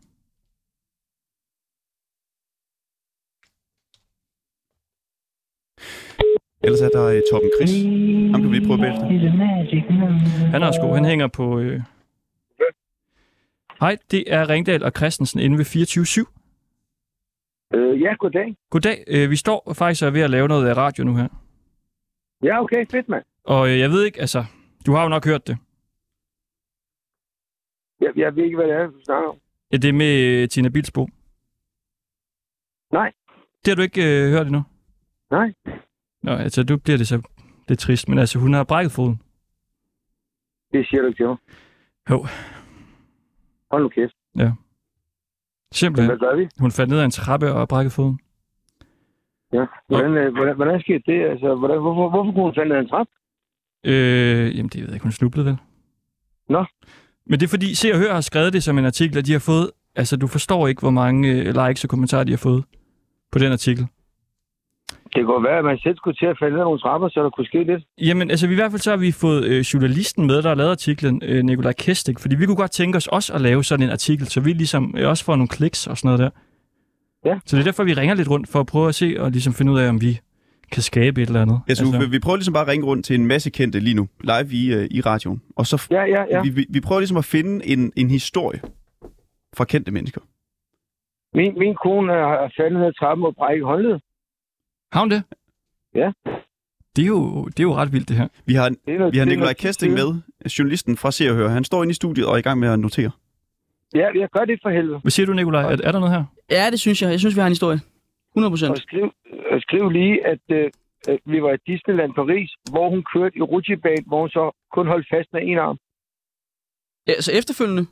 Ellers er der øh, Torben Chris. Ham kan vi lige prøve at bælge. Han er også god. Han hænger på... Øh... Hej, det er Ringdal og Christensen inde ved 24-7. Øh, ja, goddag. Goddag. Øh, vi står faktisk og er ved at lave noget af radio nu her. Ja, okay, fedt mand. Og øh, jeg ved ikke, altså... Du har jo nok hørt det. Jeg, jeg ved ikke, hvad det er, du snakker om. Ja, det er med øh, Tina Bilsbo. Nej. Det har du ikke øh, hørt endnu? Nej. Nå, altså, du bliver det så lidt trist. Men altså, hun har brækket foden. Det siger du ikke til mig. Jo. Hold nu kæft. Simpelthen. Hvad gør vi? Hun faldt ned ad en trappe og brækkede foden. Ja. Hvordan, øh, hvordan, hvordan sker det? Altså, hvordan, hvorfor, hvorfor kunne hun falde ned ad en trap? Øh, jamen, det ved jeg ikke. Hun snublede vel? Nå. Men det er fordi, Se og Hør har skrevet det som en artikel, og de har fået... Altså, du forstår ikke, hvor mange øh, likes og kommentarer, de har fået på den artikel. Det kunne være, at man selv skulle til at falde ned ad nogle trapper, så der kunne ske lidt. Jamen, altså, vi, i hvert fald så har vi fået øh, journalisten med, der har lavet artiklen, øh, Nikolaj Kestik, fordi vi kunne godt tænke os også at lave sådan en artikel, så vi ligesom øh, også får nogle kliks og sådan noget der. Ja. Så det er derfor, vi ringer lidt rundt for at prøve at se og ligesom finde ud af, om vi kan skabe et eller andet. Altså, Uffe, vi prøver ligesom bare at ringe rundt til en masse kendte lige nu, live i, øh, i radioen. Og så Ja, ja, ja. vi, vi, vi prøver ligesom at finde en, en historie fra kendte mennesker. Min, min kone øh, har faldet ned ad trappen og brækket håndled. Har hun det? Ja. Det er, jo, det er jo ret vildt, det her. Vi har, Det er noget, vi har det er Nikolaj noget tid Kesting siden. med, journalisten fra Se og Hør. Han står inde i studiet og er i gang med at notere. Ja, jeg gør det for helvede. Hvad siger du, Nikolaj? Er, er der noget her? Ja, det synes jeg. Jeg synes, vi har en historie. 100 procent. Og skriv, og skriv lige, at, øh, at vi var i Disneyland Paris, hvor hun kørte i rutsjebane, hvor hun så kun holdt fast med en arm. Ja, så efterfølgende.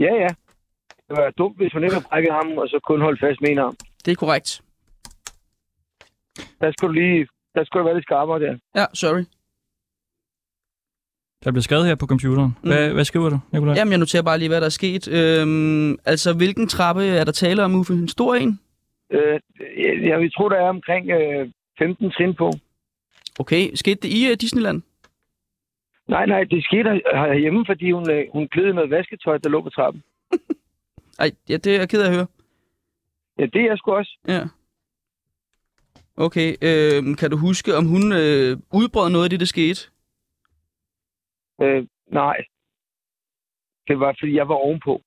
Ja, ja. Det var dumt, hvis hun ikke havde brækket ham, og så kun holdt fast med en arm. Det er korrekt. Der skulle du lige... Der skulle du være lidt skarpere der. Ja, sorry. Der bliver skrevet her på computeren. Hvad, mm. hvad skriver du, Nikolaj? Jamen, jeg noterer bare lige, hvad der er sket. Øhm, altså, hvilken trappe er der tale om, Uffe? En stor en? Øh, jeg, jeg vil tro, der er omkring øh, 15 trin på. Okay, skete det i uh, Disneyland? Nej, nej, det skete herhjemme, fordi hun, øh, hun gled i noget vasketøj, der lå på trappen. Ej, ja, det er jeg ked af at høre. Ja, det er jeg sgu også. Ja. Okay, øhm, kan du huske, om hun øh, udbrød noget af det, der skete? Øh, nej. Det var, fordi jeg var ovenpå.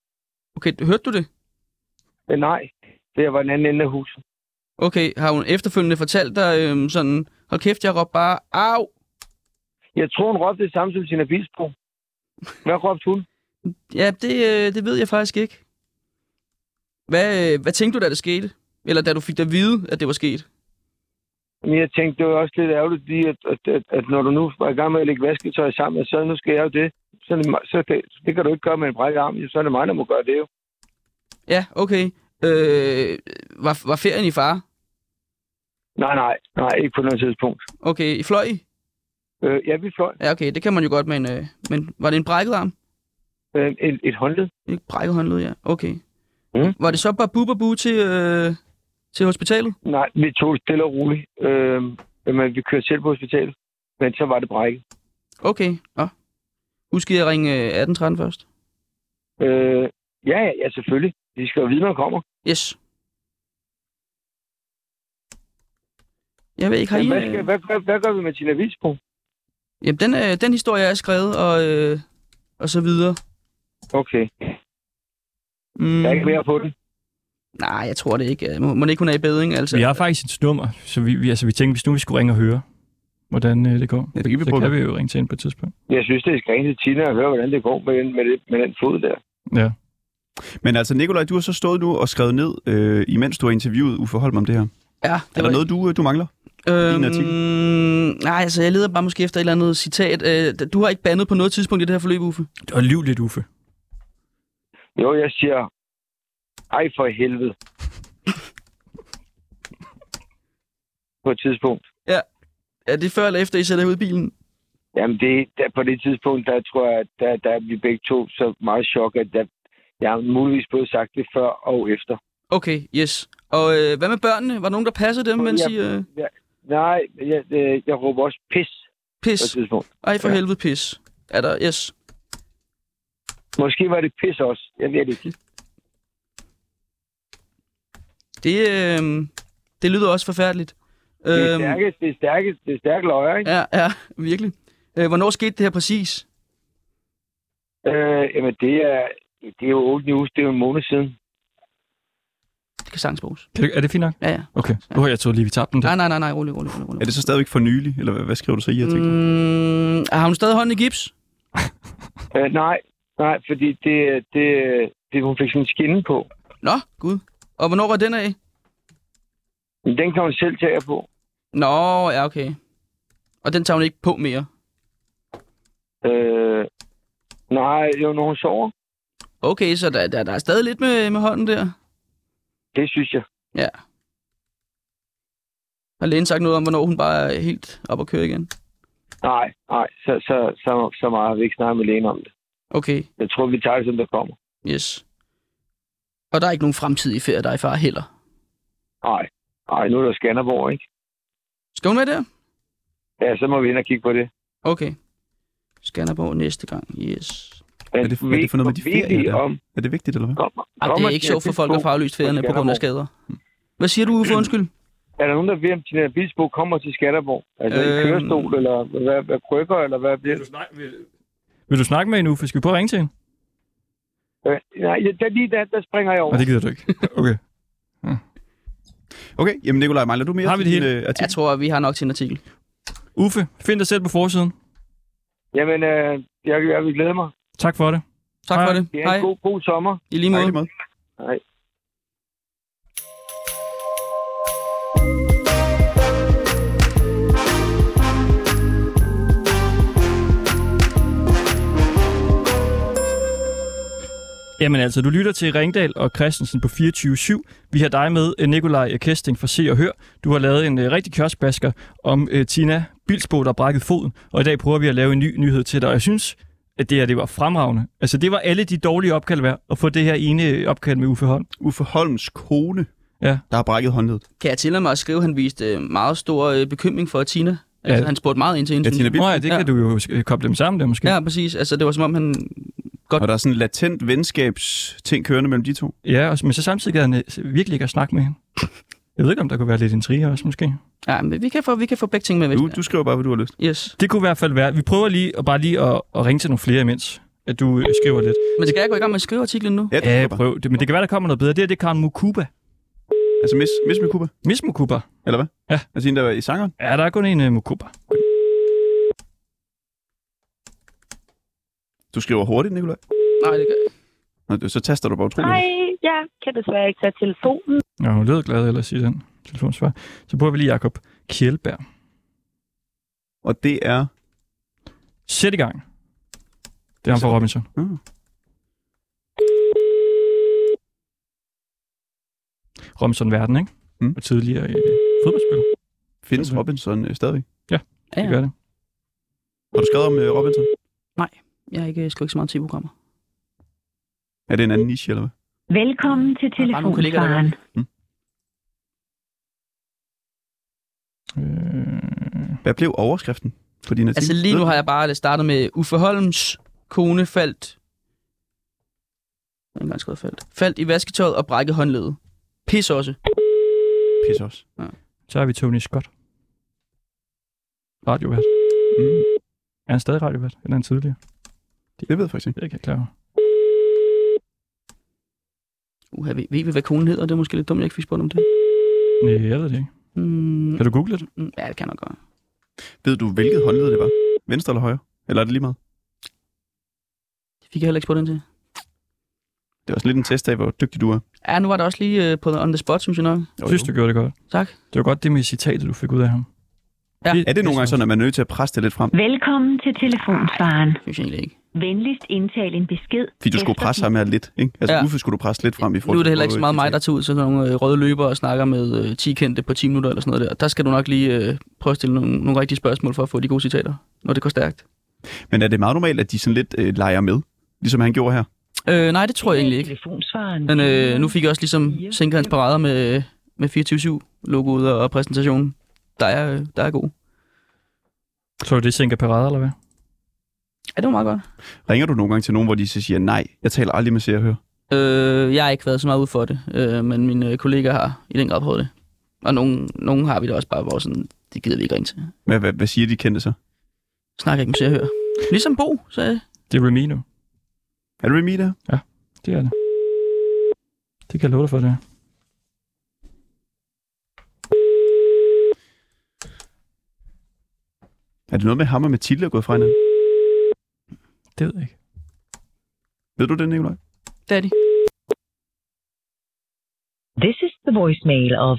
Okay, hørte du det? Men nej, for jeg var den anden ende af huset. Okay, har hun efterfølgende fortalt dig øhm, sådan, hold kæft, jeg råbte bare, au! Jeg tror, hun råbte det samme som Tina Bilsbro. Hvad råbte hun? Ja, det, øh, det ved jeg faktisk ikke. Hvad, øh, hvad tænkte du, da det skete? Eller da du fik det at vide, at det var sket? Men jeg tænkte, det var også lidt ærgerligt, fordi at, at, at, at når du nu var i gang med at lægge vasketøj sammen, så nu skal jeg jo det. Så, er det, mig- så det, det kan du ikke gøre med en brækket arm, jo, så er det mig, der må gøre det jo. Ja, okay. Øh, var, var ferien i far? Nej, nej, nej, ikke på noget tidspunkt. Okay, i fløj? I? Øh, ja, vi fløj Ja, okay, det kan man jo godt, men, øh, men var det en brækket arm? øh, et, et håndled. Ikke brækket håndled, ja. Okay. Mm. Var det så bare bu, bu til, øh, til hospitalet? Nej, vi tog det stille og roligt. Øh, men vi kørte selv på hospitalet. Men så var det brækket. Okay, nå. Husk I at ringe øh, 1813 først. Øh, ja, ja, ja, selvfølgelig. De skal jo vide, når man kommer. Yes. Jeg ved ikke, har I... Men hvad, skal, øh, hvad, hvad, hvad gør vi med Tina Vilsbro? Jamen, den, øh, den historie er skrevet, og, øh, og så videre. Okay, Mm. jeg er ikke mere på den. Nej, jeg tror det ikke. Må, må det ikke hun er i bedring, altså? Vi har faktisk et nummer, så vi, vi, altså, vi tænkte, hvis nu vi skulle ringe og høre, hvordan øh, det går, Ja, det kan vi så prøve. kan vi jo ringe til hende på et tidspunkt. Jeg synes, det er skrænt til Tina at høre, hvordan det går med den, med, det, med den fod der. Ja. Men altså, Nikolaj, du har så stået nu og skrevet ned, øh, imens du har interviewet Uffe Holm om det her. Ja, Er der noget, du, øh, du mangler? din artikel? øhm, Nej, altså, jeg leder bare måske efter et eller andet citat. Øh, du har ikke bandet på noget tidspunkt i det her forløb, Uffe. Det var liv lidt uffe. Jo, jeg siger, ej for helvede. på et tidspunkt. Er det før eller efter, I sætter jer ud i bilen? Jamen, det, der, på det tidspunkt, der tror jeg, at der, der er vi begge to så meget chok, at der, jeg har muligvis både sagt det før og efter. Okay, yes. Og øh, hvad med børnene? Var der nogen, der passede dem, mens Ja. I... Øh, Nej, jeg, jeg, jeg råber også pis på et pis. tidspunkt. Ej, for Ja. helvede pis. Er der... Yes. Måske var det pis også. Jeg ved det ikke. Det, øh, det lyder også forfærdeligt. Det er Øhm, stærke, det er stærke, det er stærke løjer, ikke? Ja, ja, virkelig. Øh, hvornår skete det her præcis? Øh, jamen, det er, det er jo 8 news, det er jo en måned siden. Det kan sagtens bruges. Kan det, er det fint nok? Ja, ja. Okay. Nu har jeg troet lige, vi tabte den der. Nej, nej, nej, nej, rolig, rolig, rolig. rolig. Er det så stadigvæk for nylig, eller hvad, hvad skriver du så i artiklen? Mm. Mm, har hun stadig hånden i gips? Øh, nej, nej, fordi det, det, det, hun fik sådan en skinne på. Nå, gud. Og hvornår var den af? Men den kan hun selv tage på. Nå, ja, okay. Og den tager hun ikke på mere. Øh, nej, jo, når hun sover. Okay, så der, der, der er stadig lidt med, med hånden der. Det synes jeg. Har lægen sagt noget om, hvornår hun bare er helt op og køre igen? Nej, nej, så, så, så, så meget har vi ikke snakket med lægen om det. Okay, Jeg tror, vi tager det, som det kommer. yes. Og der er ikke nogen fremtidige ferie, der er i far heller. Nej, nej, nu er der Skanderborg, ikke? Skal hun med der? Ja, så må vi ind og kigge på det. Okay. Skanderborg næste gang, yes. Men Er det- hvad er det for noget med de ved vi ferier der? om, Mm. Er det vigtigt, eller hvad? kommer, Ej, det kommer er ikke Tina sjovt for folk at Bisgaard- farløst ferierne på grund af skader. Hvad siger du, Uffe? Undskyld. Er der nogen, der ved, om Tina Bisbo kommer til Skanderborg? Altså i Øhm. kørestol, eller hvad, hvad krykker, eller hvad bliver det? Vil du snakke med hende, Uffe? Skal vi prøve at ringe til hende? Øh, nej, der, lige der, der springer jeg over. Nej, det gider du ikke. Okay. Okay, jamen Nikolaj, mangler du mere Har vi til det din, hele? øh, artikel? Jeg tror, vi har nok til en artikel. Uffe, find dig selv på forsiden. Jamen, øh, jeg, jeg vil glæde mig. Tak for det. Tak Hej. for det. Det er Hej. en god, god sommer. I lige Tak i måde. lige måde. Nej. Jamen altså, du lytter til Ringdal og Christensen på 24-7. Vi har dig med, øh, Nikolaj Kesting fra Se og Hør. Du har lavet en øh, rigtig kioskbasker om øh, Tina Bilsbo, der brækkede foden. Og i dag prøver vi at lave en ny nyhed til dig. Og jeg synes, at det her det var fremragende. Altså, det var alle de dårlige opkald værd at få det her ene øh, opkald med Uffe Holm. Uffe Holms kone, Ja. der har brækket håndledet. Kan jeg tillade mig at skrive, at han viste øh, meget stor øh, bekymring for Tina? Altså, Ja. han spurgte meget ind til hende. Ja, Tina Bil- Nå ja, det kan du jo øh, koble dem sammen der måske. Ja, præcis. Altså, det var som om, han... Og der er sådan en latent venskabsting kørende mellem de to. Ja, og, men så samtidig gad han øh, virkelig ikke at snakke med hende. Jeg ved ikke, om der kunne være lidt intriger også, måske. Ja, men vi kan få, vi kan få begge ting med, hvis Du, du skriver bare, hvad du har lyst. Yes. Det kunne i hvert fald være. Vi prøver lige at bare lige at, at ringe til nogle flere imens. at du øh, skriver lidt. Men skal jeg gå i gang med at skrive artiklen nu? Ja, det Ja, er Cuba. prøv det. Men det kan være, der kommer noget bedre. Det her, det er Karen Mukuba. Altså Miss, Miss med Cuba, Miss Mukuba. eller hvad? Ja. Altså hende, der var i sangeren? Ja, der er kun en uh, Mukuba. Du skriver hurtigt, Nicolaj. Nej, det gør jeg. ikke. Nå, du- så taster du bare utroligt. Hej, jeg kan desværre ikke tage telefonen. Ja, hun lød glad ellers i den telefonsvar. Så prøver vi lige Jakob Kjellberg. Og det er... Sæt i gang. Det er ham fra Robinson. Mm. Robinson Verden, ikke? Mm. Og tidligere øh, fodboldspiller. Findes Okay. Robinson øh, stadigvæk? Ja, Det ja. gør det. Har du skrevet om øh, Robinson? Jeg har ikke skrevet ikke så meget til programmer. Er det en anden niche, eller hvad? Velkommen til Der er bare nogle kollegaer, der gør telefonsvaren. Øh, Hvad blev overskriften på din artikel? Altså lige nu har jeg bare startet med Uffe Holms kone faldt... Jeg har ikke engang skrevet faldt. Faldt i vasketøjet og brækkede håndledet. Pis også. Pisse også. så har vi Tony Scott. Radiovært. Mm. Er han stadig radiovært? Eller er han tidligere? Det ved jeg faktisk ikke. Det kan jeg ikke klare. Uha, ved, ved I, hvad konen hedder? Det er måske lidt dumt, jeg ikke fik spurgt om det. Nej, jeg ved det ikke. Mm, Kan du google det? mm, ja, det kan jeg nok godt. Ved du, hvilket håndled det var? Venstre eller højre? Eller er det lige meget? Det fik jeg heller ikke spurgt ind til. Det var sådan lidt en test af, hvor dygtig du er. Ja, nu var det også lige øh, på on the spot, synes jeg nok. Jeg synes, du gjorde det godt. Tak. Det var godt det med citatet, du fik ud af ham. Ja. Er det nogle gange sådan, at man er nødt til at presse det lidt frem? Velkommen til telefonsvaren. Synes jeg egentlig ikke. Venligst indtal en besked. Fordi du skulle efter presse ham her lidt, ikke? Altså, ja. Ja. Uffe skulle du presse lidt frem i forhold Nu er det til- heller ikke så meget mig, der tager ud til sådan nogle øh, røde løbere og snakker med øh, 10 kendte på 10 minutter eller sådan noget der. Der skal du nok lige øh, prøve at stille nogle, nogle rigtige spørgsmål for at få de gode citater, når det går stærkt. Men er det meget normalt, at de sådan lidt øh, leger med? Ligesom han gjorde her. Øh, nej, det tror jeg egentlig ikke. Telefonsvaren. Men øh, nu fik jeg også ligesom sænket hans parader med, med 24-7-logoet og præsentationen. Der er, øh, der er god. Tror du, det sænker parader, eller hvad? Ja, det var meget godt. Ringer du nogle gange til nogen, hvor de så siger, nej, jeg taler aldrig med se og høre? Øh, jeg har ikke været så meget ude for det, øh, men mine øh, kollegaer har i den grad prøvet det. Og nogen, nogen har vi da også bare, hvor sådan, det gider vi ikke ringe til. Hvad, hvad, hvad siger de kendte så? Snakker ikke med sig høre. Ligesom Bo, sagde jeg. Det er Remino. Er det Remy der? Det er det. Det kan jeg love dig for, det er. Er det noget med ham og Mathilde er gået fra hinanden? Det ved jeg ikke. Ved du det, Nicolaj? Det er de. This is the voicemail of.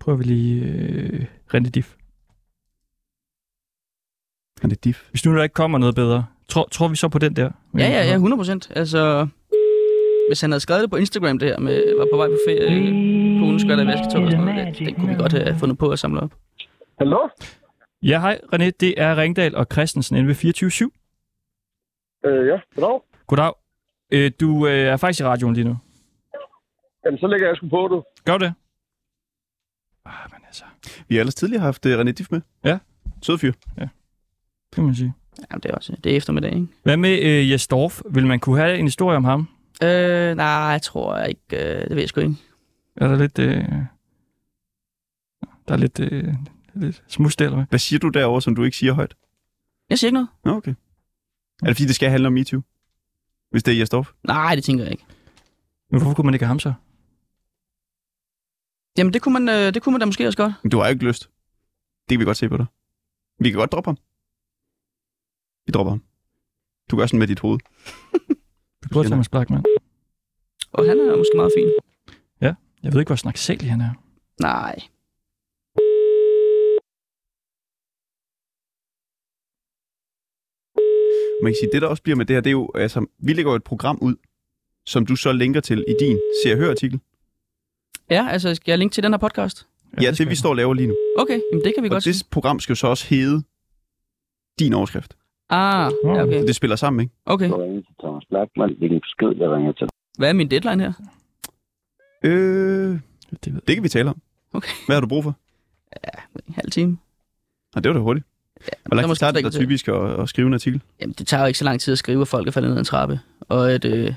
Prøver vi lige øh, Rente Diff. Han er diff. Hvis nu der ikke kommer noget bedre, tror, tror vi så på den der? Ja, ja, ja, 100 procent. Altså, hvis han havde skrevet det på Instagram, det her med, var på vej på ferie, øh, konen skørt af vasketøj og sådan noget, det, det kunne vi godt have fundet på at samle op. Hallo? Ja, hej René, det er Ringdal og Christensen inde ved 24-7. Øh, ja, goddag. Goddag. Øh, du øh, er faktisk i radioen lige nu. Jamen, så lægger jeg sgu på, du. Gør du det? Ah, men altså, Vi har ellers tidligere haft uh, René Diff med. Ja. Sød fyr. det må man sige. Jamen, det er også det er eftermiddag, ikke? Hvad med øh, Jes Dorf? Vil man kunne have en historie om ham? Øh, nej, jeg tror jeg ikke. Øh, det ved jeg sgu ikke. Er der lidt... Øh, der er lidt, øh, lidt smus der, eller hvad? Hvad siger du derovre, som du ikke siger højt? Jeg siger ikke noget. Nå, okay. Er det fordi, det skal handle om MeToo? Hvis det er Jesdorf? Nej, det tænker jeg ikke. Men hvorfor kunne man ikke have ham så? Jamen, det kunne man, øh, det kunne man da måske også godt. Men Du har jo ikke lyst. Det kan vi godt se på dig. Vi kan godt droppe ham. Vi dropper ham. Du gør sådan med dit hoved. Du prøver siger Thomas Blackman. Og han er måske meget fin. Jeg ved ikke, hvor snakselig han er. Nej. Man kan sige, det der også bliver med det her, det er jo, altså, vi lægger jo et program ud, som du så linker til i din se og hør artikel. Ja, altså, skal jeg linke til den her podcast? Ja, skal det vi jeg. står og laver lige nu. Okay, jamen, det kan vi Og godt sige. det program skal jo så også hedde din overskrift. Ah, ja, okay. Så det spiller sammen, ikke? okay. Du ringer til Thomas Blackman. Hvilken besked, jeg ringer til? Hvad er min deadline her? Øh, Det ved jeg. det kan vi tale om. Okay. Hvad har du brug for? En halv time. Og det var da hurtigt. Hvor der langt måske tager det ikke dig til. typisk at, at skrive en artikel? Jamen, det tager jo ikke så lang tid at skrive, at folk er faldet ned ad en trappe. Og at øh,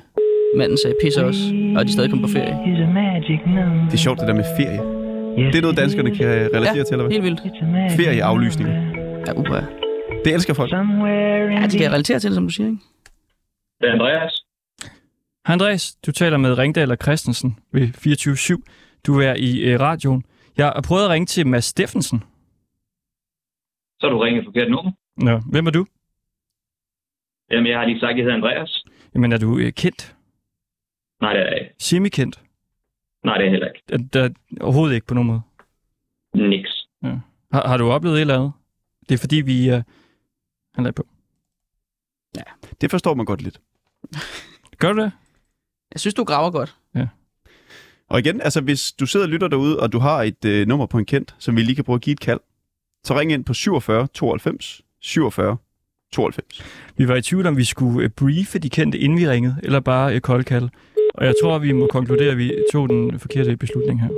manden sagde pisse også, og de stadig kom på ferie. It's a magic number. Det er sjovt, det der med ferie. Det er noget, danskerne kan øh, relatere til, eller hvad? Helt vildt. It's a magic Ferieaflysninger. number. Ja, uha. Det elsker folk. Ja, de kan relatere til det, som du siger, ikke? Det er Andreas. Hej Andreas, du taler med Ringdal og Christensen ved 24-7. Du er i øh, radioen. Jeg har prøvet at ringe til Mads Steffensen. Så har du ringet forkert nummer. Nå, hvem er du? Jamen, jeg har lige sagt, at jeg hedder Andreas. Jamen, er du øh, kendt? Nej, det er jeg ikke. Semikendt? Nej, det er heller ikke. Er, der, overhovedet ikke på nogen måde. Niks. Ja. Har, har du oplevet et eller andet? Det er fordi, vi... Øh, han lagde på. Det forstår man godt lidt. Gør du det? Jeg synes, du graver godt. Og igen, altså hvis du sidder og lytter derude, og du har et øh, nummer på en kendt, som vi lige kan bruge at give et kald, så ring ind på 47 92 47 92. Vi var i tvivl om, vi skulle øh, briefe de kendte, inden vi ringede, eller bare øh, koldkald. Og jeg tror, vi må konkludere, at vi tog den forkerte beslutning her.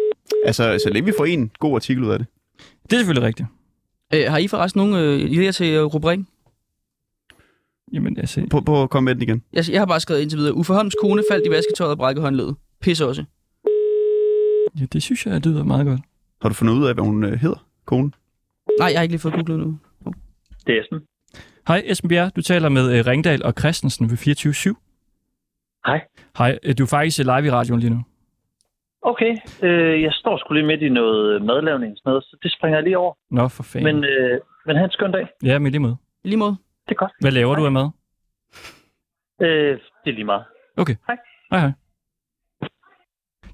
Altså, så længe vi får en god artikel ud af det. Det er selvfølgelig rigtigt. Øh, har I forresten nogle øh, idéer til øh, rubrik? Jamen, altså... På, på at komme med den igen. Jeg, jeg har bare skrevet indtil videre. Uffe Holms kone faldt i vasketøjet og brækkede håndledet. Pisse også. Ja, det synes jeg, det lyder meget godt. Har du fundet ud af, hvad hun øh, hedder, konen? Nej, jeg har ikke lige fået googlet nu. Det er Esben. Hej Esben Bjerg, du taler med øh, Ringdal og Christensen ved 24-7. Hej. Hej, øh, du er faktisk øh, live i radioen lige nu. Okay, øh, jeg står sgu lige midt i noget madlavning og sådan noget, så det springer jeg lige over. Nå, for fanden. Men, øh, men have en skøn dag. Ja, men lige måde. Lige måde. Det er godt. Hvad laver du af mad? Øh, det er lige meget. Okay. Hej. Hej, hej.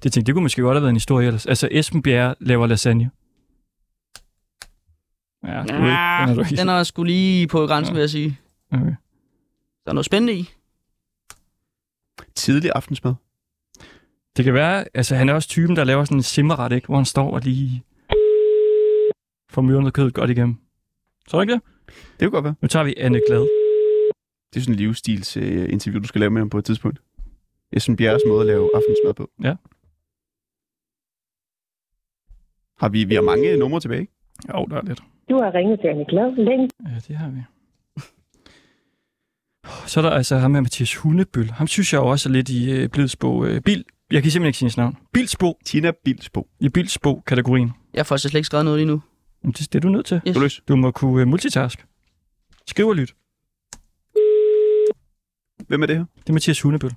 Det tænkte, det kunne måske godt have været en historie ellers. Altså, Esben Bjerre laver lasagne. Ja, du ved, den er du ikke. den er sgu lige på grænsen, ja. vil jeg sige. Okay. Der er noget spændende i. Tidlig aftensmad. Det kan være, altså han er også typen, der laver sådan en simmerret, ikke? Hvor han står og lige får myrnet kødet godt igennem. Tror du ikke det? Det kunne godt være. Nu tager vi Anne Glad. Det er sådan en livsstilsinterview, øh, interview, du skal lave med ham på et tidspunkt. Esben Bjerres måde at lave aftensmad på. Ja. Har vi, vi har mange numre tilbage, ikke? Jo, der er lidt. Du har ringet til Anne Glad længe. Ja, det har vi. Så er der altså ham her, Mathias Hundebøl. Ham synes jeg jo også er lidt i øh, Blidsbo. Øh, Bil. Jeg kan simpelthen ikke sige hans navn. Bilsbo. Tina Bilsbo. I Bilsbo-kategorien. Jeg har faktisk slet ikke skrevet noget lige nu. Jamen, Det, det er du nødt til. Yes. Du er løs. Du må kunne øh, multitask. Skriv og lyt. Hvem er det her? Det er Mathias Hunebøl.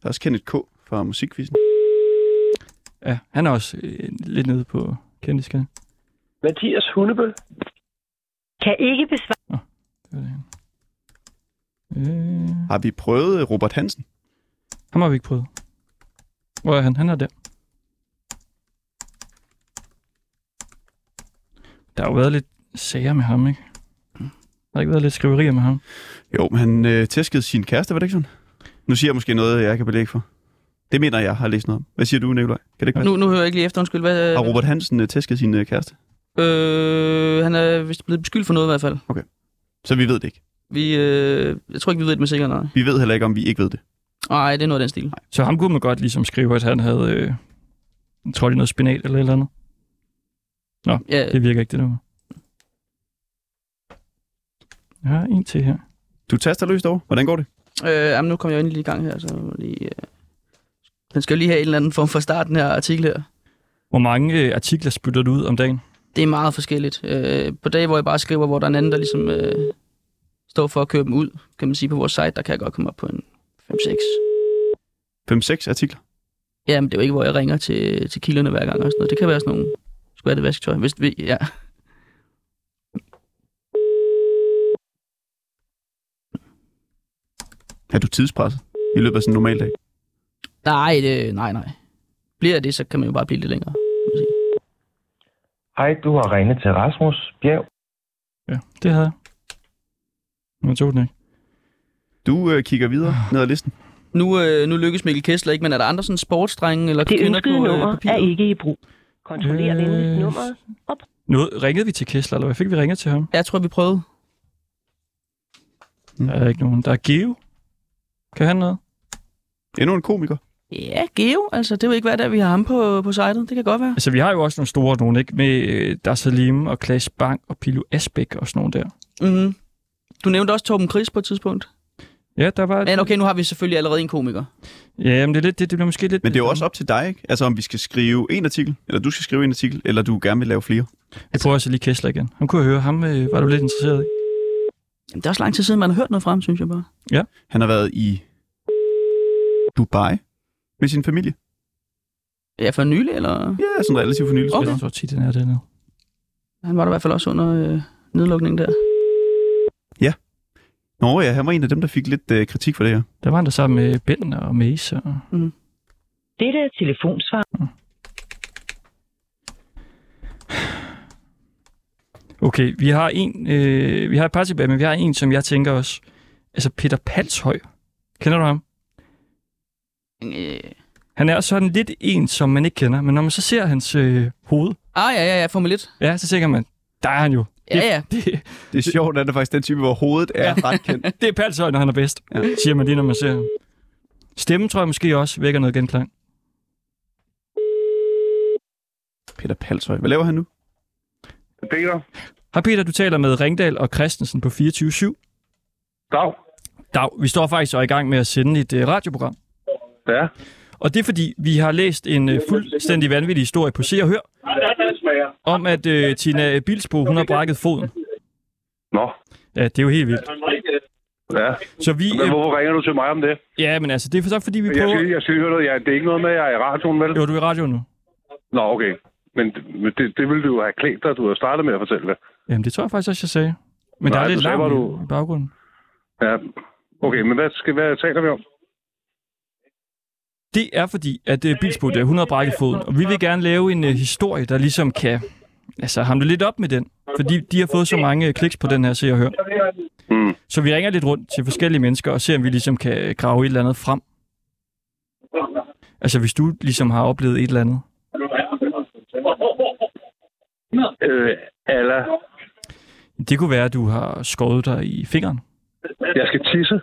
Der er også Kenneth K. fra Musikquizzen. Ja, han er også øh, lidt nede på kendtiskade. Mathias Hundebøl. Kan ikke besvare. Øh, Har vi prøvet øh, Robert Hansen? ham har vi ikke prøvet. Hvor er han? Han er der. Der har jo været lidt sager med ham, ikke? Der har ikke været lidt skriverier med ham. Jo, men han øh, tæskede sin kæreste, var det ikke sådan? Nu siger jeg måske noget, jeg ikke har belæg for. Det mener jeg, har læst noget om. Hvad siger du, Nikolaj? Kan det ikke passe? Nu, nu hører jeg ikke lige efter, undskyld. Hvad, Har Robert Hansen øh, tæsket sin øh, kæreste? øh, han er vist blevet beskyldt for noget i hvert fald. Så vi ved det ikke. Vi, øh, jeg tror ikke, vi ved det med sikkerhed, nej. Vi ved heller ikke, om vi ikke ved det. Nej, det er noget af den stil. Så ham kunne man godt ligesom skrive, at han havde øh, trådt i noget spinat eller et eller andet. Ja, Det virker ikke, det nummer. Jeg har en til her. Du taster løst over. Hvordan går det? øh, jamen, nu kommer jeg jo endelig lige i gang her, så jeg må lige... Øh, den skal jo lige have en eller anden form for start, den her artikel her. Hvor mange øh, artikler spytter du ud om dagen? Det er meget forskelligt. Øh, på dage, hvor jeg bare skriver, hvor der er en anden, der ligesom øh, står for at købe dem ud, kan man sige, på vores site, der kan jeg godt komme op på en 5-6. 5-6 artikler. Jamen, det er jo ikke, hvor jeg ringer til, til kilderne hver gang og sådan noget. Det kan være sådan nogle skvatte vasketøj, hvis vi... Ja. Er du tidspresset i løbet af sådan en normal dag? Nej, det, nej, nej. Bliver det, så kan man jo bare blive lidt længere. kan man sige. Hej, du har ringet til Rasmus Bjerg. Ja, det havde jeg. Nu tog den ikke. Du øh, kigger videre ned ad listen. Nu, øh, nu lykkes Mikkel Kessler ikke, men er der andre sådan sportsdrenge eller Det kvinder på ønskede nummer øh, er papiret? Øh, ikke i brug. Kontroller venligst nummeret. Nu ringede vi til Kessler, eller hvad fik vi ringet til ham? Jeg tror, vi prøvede. Der Mm. er ikke nogen. Der er Geo. Kan han noget? Endnu en komiker. Ja, Geo, altså det er jo ikke hver dag, vi har ham på, på sitet. Det kan godt være. Altså, vi har jo også nogle store nogen, ikke? Med øh, Der Salim og Klaas Bang og Pilo Asbæk og sådan nogle der. Mm-hmm. Du nævnte også Torben Chris på et tidspunkt. Ja, der var... Men okay, nu har vi selvfølgelig allerede en komiker. Ja, men det, er lidt, det, det bliver måske lidt... Men det er jo også op til dig, ikke? Altså om vi skal skrive en artikel, eller du skal skrive en artikel, eller du gerne vil lave flere. Jeg prøver også lige Kessler igen. Han kunne jeg høre, ham øh, var du lidt interesseret i. Jamen, det er også lang tid siden, man har hørt noget fra ham, synes jeg bare. Ja. Han har været i Dubai med sin familie. Ja, for nylig, eller? Ja, sådan relativt for nylig. Okay. Jeg tror tit, den er dernede. Han var der i hvert fald også under øh, nedlukningen der. Nå ja, han var en af dem, der fik lidt øh, kritik for det her. Der var han der sammen med Ben og Mace. Og... Mm. Dette er telefonsvar. Okay, vi har en, øh, vi har et par tilbage, men vi har en, som jeg tænker også, altså Peter Palshøj. Kender du ham? Øh. Han er sådan lidt en, som man ikke kender, men når man så ser hans øh, hoved, Ah, ja, ja, ja, Formel 1. ja, så tænker man, der er han jo. Ja, ja. Det, Det er sjovt, at det er faktisk den type, hvor hovedet er ret kendt. det er Palshøj, når han er bedst, ja. siger man lige, når man ser ham. Stemmen tror jeg måske også vækker noget genklang. Peter Palshøj. Hvad laver han nu? Peter, Hej Peter, du taler med Ringdal og Christensen på 24-7. Dag. Dag, vi står faktisk og er i gang med at sende et øh, radioprogram. Ja. Og det er fordi, vi har læst en øh, fuldstændig vanvittig historie på Se og Hør, om at øh, Tina Bilsbo, hun har brækket foden. Nå. Ja, det er jo helt vildt. Ja. Så vi... Men hvorfor ringer du til mig om det? Ja, men altså, det er for så, fordi vi Jeg skal, prøver... lige- jeg skal lige høre noget. Ja, det er ikke noget med, at jeg er i radioen, vel? Jo, du er i radioen nu. Nå, okay. Men det- men det, det ville du jo have klædt dig, at du havde startet med at fortælle det. Jamen, det tror jeg faktisk også, jeg sagde. Men Nej, der er lidt du sagde, larm hvor du... i baggrunden. Ja. Okay, men hvad, skal, hvad taler vi om? Det er fordi, at uh, Bilsbo, der hun har brækket foden, og vi vil gerne lave en uh, historie, der ligesom kan altså, hamle lidt op med den. Fordi de har fået så mange øh, kliks på den her Se og Hør. Mm. Så vi ringer lidt rundt til forskellige mennesker og ser, om vi ligesom kan grave et eller andet frem. Altså, hvis du ligesom har oplevet et eller andet. Øh, Alla, Det kunne være, at du har skåret dig i fingeren. jeg skal tisse.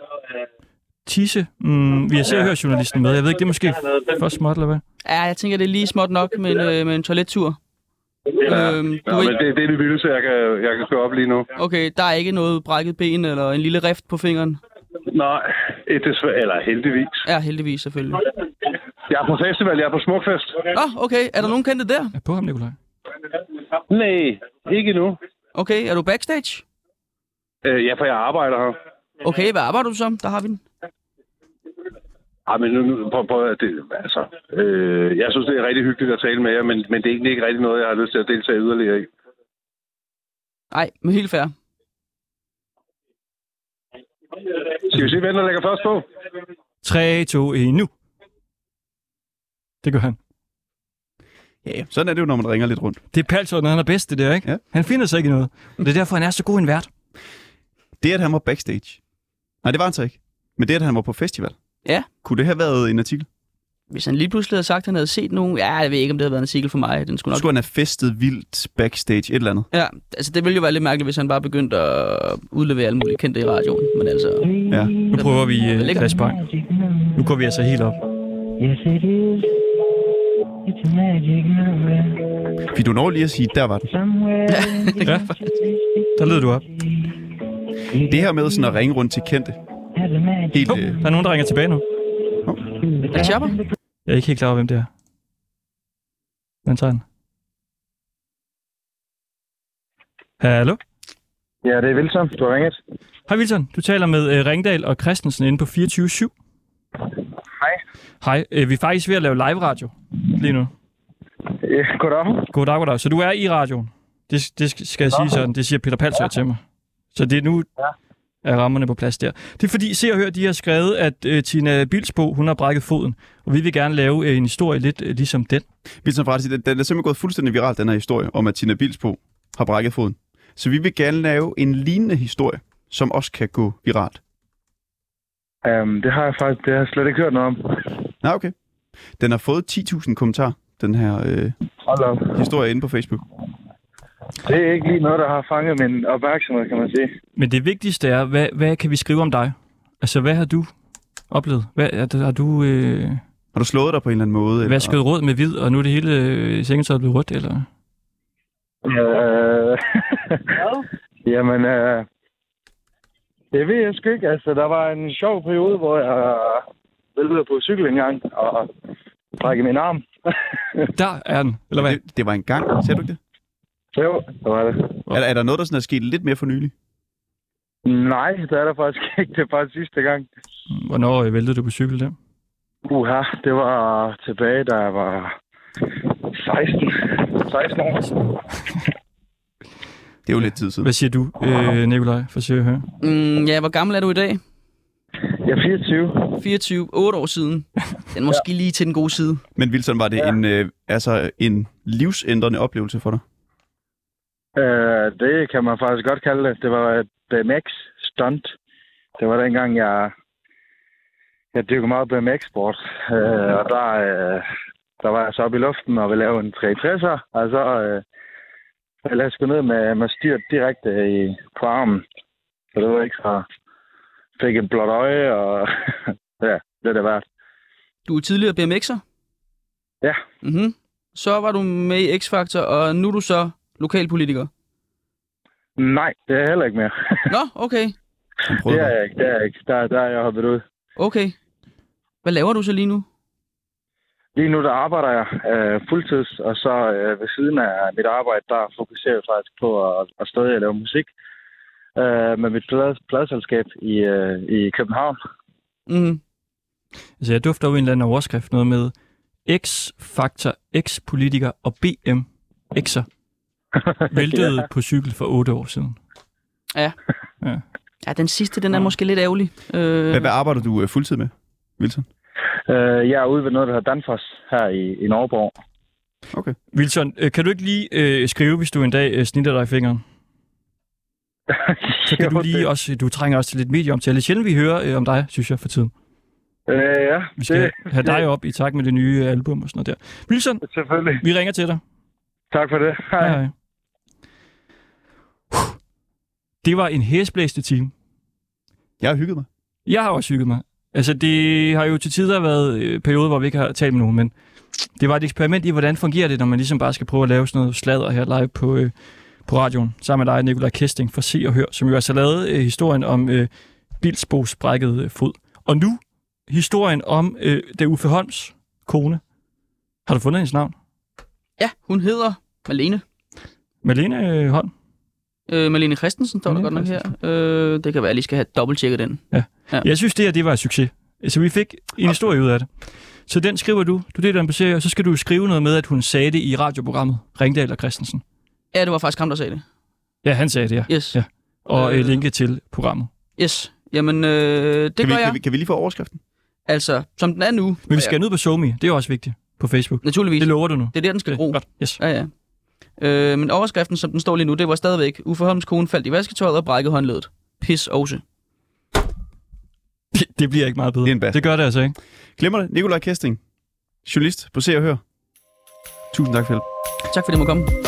Tisse. Mm, vi har Se og Hør journalisten med. Jeg ved ikke, det er måske for småt, eller hvad? Ja, jeg tænker, det er lige småt nok med en, øh, med en toilettur. Ja. Øhm, Nå, du er men ikke, det, det er det vildeste, jeg kan, jeg kan stå op lige nu. okay, der er ikke noget brækket ben eller en lille rift på fingeren. Nej, eh, desværre, eller heldigvis. Ja, heldigvis selvfølgelig. Jeg er på festival, jeg er på smukfest. Nå, okay. Er der nogen kendte der? Er på ham, Nikolaj? Nej, ikke nu. Okay, er du backstage? Øh, ja, for jeg arbejder her. Okay, hvad arbejder du som? Der har vi den. Ej, men nu, nu prøv, prøv, at- det, altså, øh, jeg synes, det er rigtig hyggeligt at tale med jer, men, men det er egentlig ikke rigtig noget, jeg har lyst til at deltage yderligere i. Nej, men helt fair. Skal vi se, hvem der lægger først på? 3, 2, 1, nu. Det gør han. Ja, sådan er det jo, når man ringer lidt rundt. Det er Palsøj, når han er bedst, det der, ikke? Ja. Han finder sig ikke i noget. Og det er derfor, han er så god en vært. Det, at han var backstage. Nej, det var han så ikke. Men det, at han var på festival. Ja. Kunne det have været en artikel? Hvis han lige pludselig havde sagt, at han havde set nogen... Ja, jeg ved ikke, om det havde været en artikel for mig. Den skulle Nok. nok... Skulle han have festet vildt backstage et eller andet? Ja, altså det ville jo være lidt mærkeligt, hvis han bare begyndte at udlevere alle mulige kendte i radioen. Men altså... Ja. Nu prøver vi Hvor uh, ligger Clash Bang. Nu går vi altså helt op. Yes, it is. It's a magic number. Fordi du når lige at sige, der var den. Somewhere Ja, der lød du op. Det her med sådan at ringe rundt til kendte. has a magic Helt, oh. øh, Der er nogen, der ringer tilbage nu. Er det Chopper? Jeg er ikke helt klar over, hvem det er. Hvem tager den? Hallo? Ja, det er Wilson. Du har ringet. Hej Wilson, du taler med uh, Ringdal og Christensen inde på 24-7. Hej. Hej, uh, vi er faktisk ved at lave live radio lige nu. Ja, goddag. Goddag, goddag. Så du er i radioen. Det, det sk- skal jeg sige sådan. Det siger Peter Palsøj til mig. Så det er nu, er rammerne på plads der. Det er fordi, Se og Hør, de har skrevet, at øh, Tina Bilsbo, hun har brækket foden. Og vi vil gerne lave øh, en historie lidt øh, ligesom den. Wilson Frati, den, den er simpelthen gået fuldstændig viral, den her historie, om at Tina Bilsbo har brækket foden. Så vi vil gerne lave en lignende historie, som også kan gå viralt. Um, det har jeg faktisk det har jeg slet ikke hørt noget om. Nej, okay. Den har fået 10.000 kommentarer, den her øh, Hold op. historie inde på Facebook. Det er ikke lige noget, der har fanget min opmærksomhed, kan man sige. Men det vigtigste er, hvad, hvad kan vi skrive om dig? Altså, hvad har du oplevet? Hvad, er det, har du øh, Har du slået dig på en eller anden måde? Eller? vasket råd med hvid, og nu er det hele øh, sengetøjet blevet rødt, eller? Øh, jamen, øh, Det ved jeg sgu ikke. Altså, der var en sjov periode, hvor jeg væltede på cykel engang og brækkede min arm. Der er den, eller hvad? Det, det var en gang, sagde du ikke det? Jo, der var det. Er, er der noget, der sådan er sket lidt mere for nylig? Nej, der er der faktisk ikke. Det er faktisk sidste gang. Hvornår øh, væltede du på cykel der? Uha, det var tilbage, da jeg var 16, 16 år. Det er jo lidt tid siden. Hvad siger du, øh, Nikolaj, for at høre? Mm, ja, hvor gammel er du i dag? Jeg er 24. 24, 8 år siden. Den er måske ja. lige til den gode side. Men Wilson, var det ja. en, øh, altså en livsændrende oplevelse for dig? Øh, det kan man faktisk godt kalde det. Det var et BMX stunt. Det var dengang, jeg, jeg dykkede meget BMX-sport. Øh, og der, øh, der var jeg så oppe i luften og ville lave en 360'er, og så øh, jeg lagde sgu ned med, med styrt direkte i, på armen. Så det var ikke så... Fik et blåt øje, og ja, det er det værd. Du er tidligere BMX'er? Ja. Mm-hmm. Så var du med i X-Factor, og nu er du så lokalpolitiker? Nej, det er jeg heller ikke mere. Nå, okay. det er jeg ikke, det er jeg ikke. Der, der er jeg hoppet ud. Okay. Hvad laver du så lige nu? Lige nu der arbejder jeg øh, fuldtids, og så øh, ved siden af mit arbejde, der fokuserer jeg faktisk på at, at stadig lave musik øh, med mit plad- pladselskab i, øh, i København. Mm. Altså, jeg dufter jo en eller anden overskrift, noget med X-faktor, X-politiker og BM-X'er. Væltede ja. på cykel for otte år siden. Ja. Ja. Ja, den sidste, den er måske lidt ærgerlig. Øh, Hvad, hvad arbejder du øh, fuldtid med, Wilson? Øh, jeg er ude ved noget, der hedder Danfoss her i, i Norgeborg. Okay. Wilson, øh, kan du ikke lige øh, skrive, hvis du en dag øh, snitter dig i fingeren? Så kan Jo, du lige det- også, du trænger også til lidt medieomtale. Det er sjældent, vi hører øh, om dig, synes jeg, for tiden. Øh, ja, Vi skal det, have dig op i takt med det nye øh, album og sådan noget der. Wilson, selvfølgelig. vi ringer til dig. Tak for det. Hej. Hej, hej. Huh. Det var en hæsblæste time. Jeg har hygget mig. Jeg har også hygget mig. Altså, det har jo til tider været øh, perioder, hvor vi ikke har talt med nogen, men det var et eksperiment i, hvordan fungerer det, når man ligesom bare skal prøve at lave sådan noget sladder her live på, øh, på radioen, sammen med dig, Nikolaj Kesting fra Se og Hør, som jo altså lavede øh, historien om øh, Bilsbos sprækkede øh, fod. Og nu historien om øh, det Uffe Holms kone. Har du fundet hendes navn? Ja, hun hedder Malene. Malene øh, Holm? Øh, Malene Christensen står der godt nok her. Øh, det kan være, at jeg lige skal have dobbelttjekket den. Ja. Ja. ja. Jeg synes, det her det var et succes. Så vi fik en historie ud af det. Så den skriver du, du deler den på serie, og så skal du skrive noget med, at hun sagde det i radioprogrammet Ringdal og Christensen. Ja, det var faktisk ham, der sagde det. Ja, han sagde det, ja. Yes. ja. Og øh, Øh. linke til programmet. Yes. Jamen, øh, det Kan vi, gør jeg. kan, vi, kan vi lige få overskriften? Altså, som den er nu. Men vi skal ned på SoMe, det er også vigtigt på Facebook. Naturligvis. Det lover du nu. Det er der, den skal gro. Yes. Ja, ja. Øh, men overskriften, som den står lige nu, det var stadigvæk, Uffe Holms kone faldt i vasketøjet og brækkede håndledet. Pis også. Det, det bliver ikke meget bedre. Det er en bas. Det gør det altså ikke. Glemmer det. Nikolaj Kesting, journalist på Se og Hør. Tusind tak for hjælp. Tak fordi jeg måtte komme.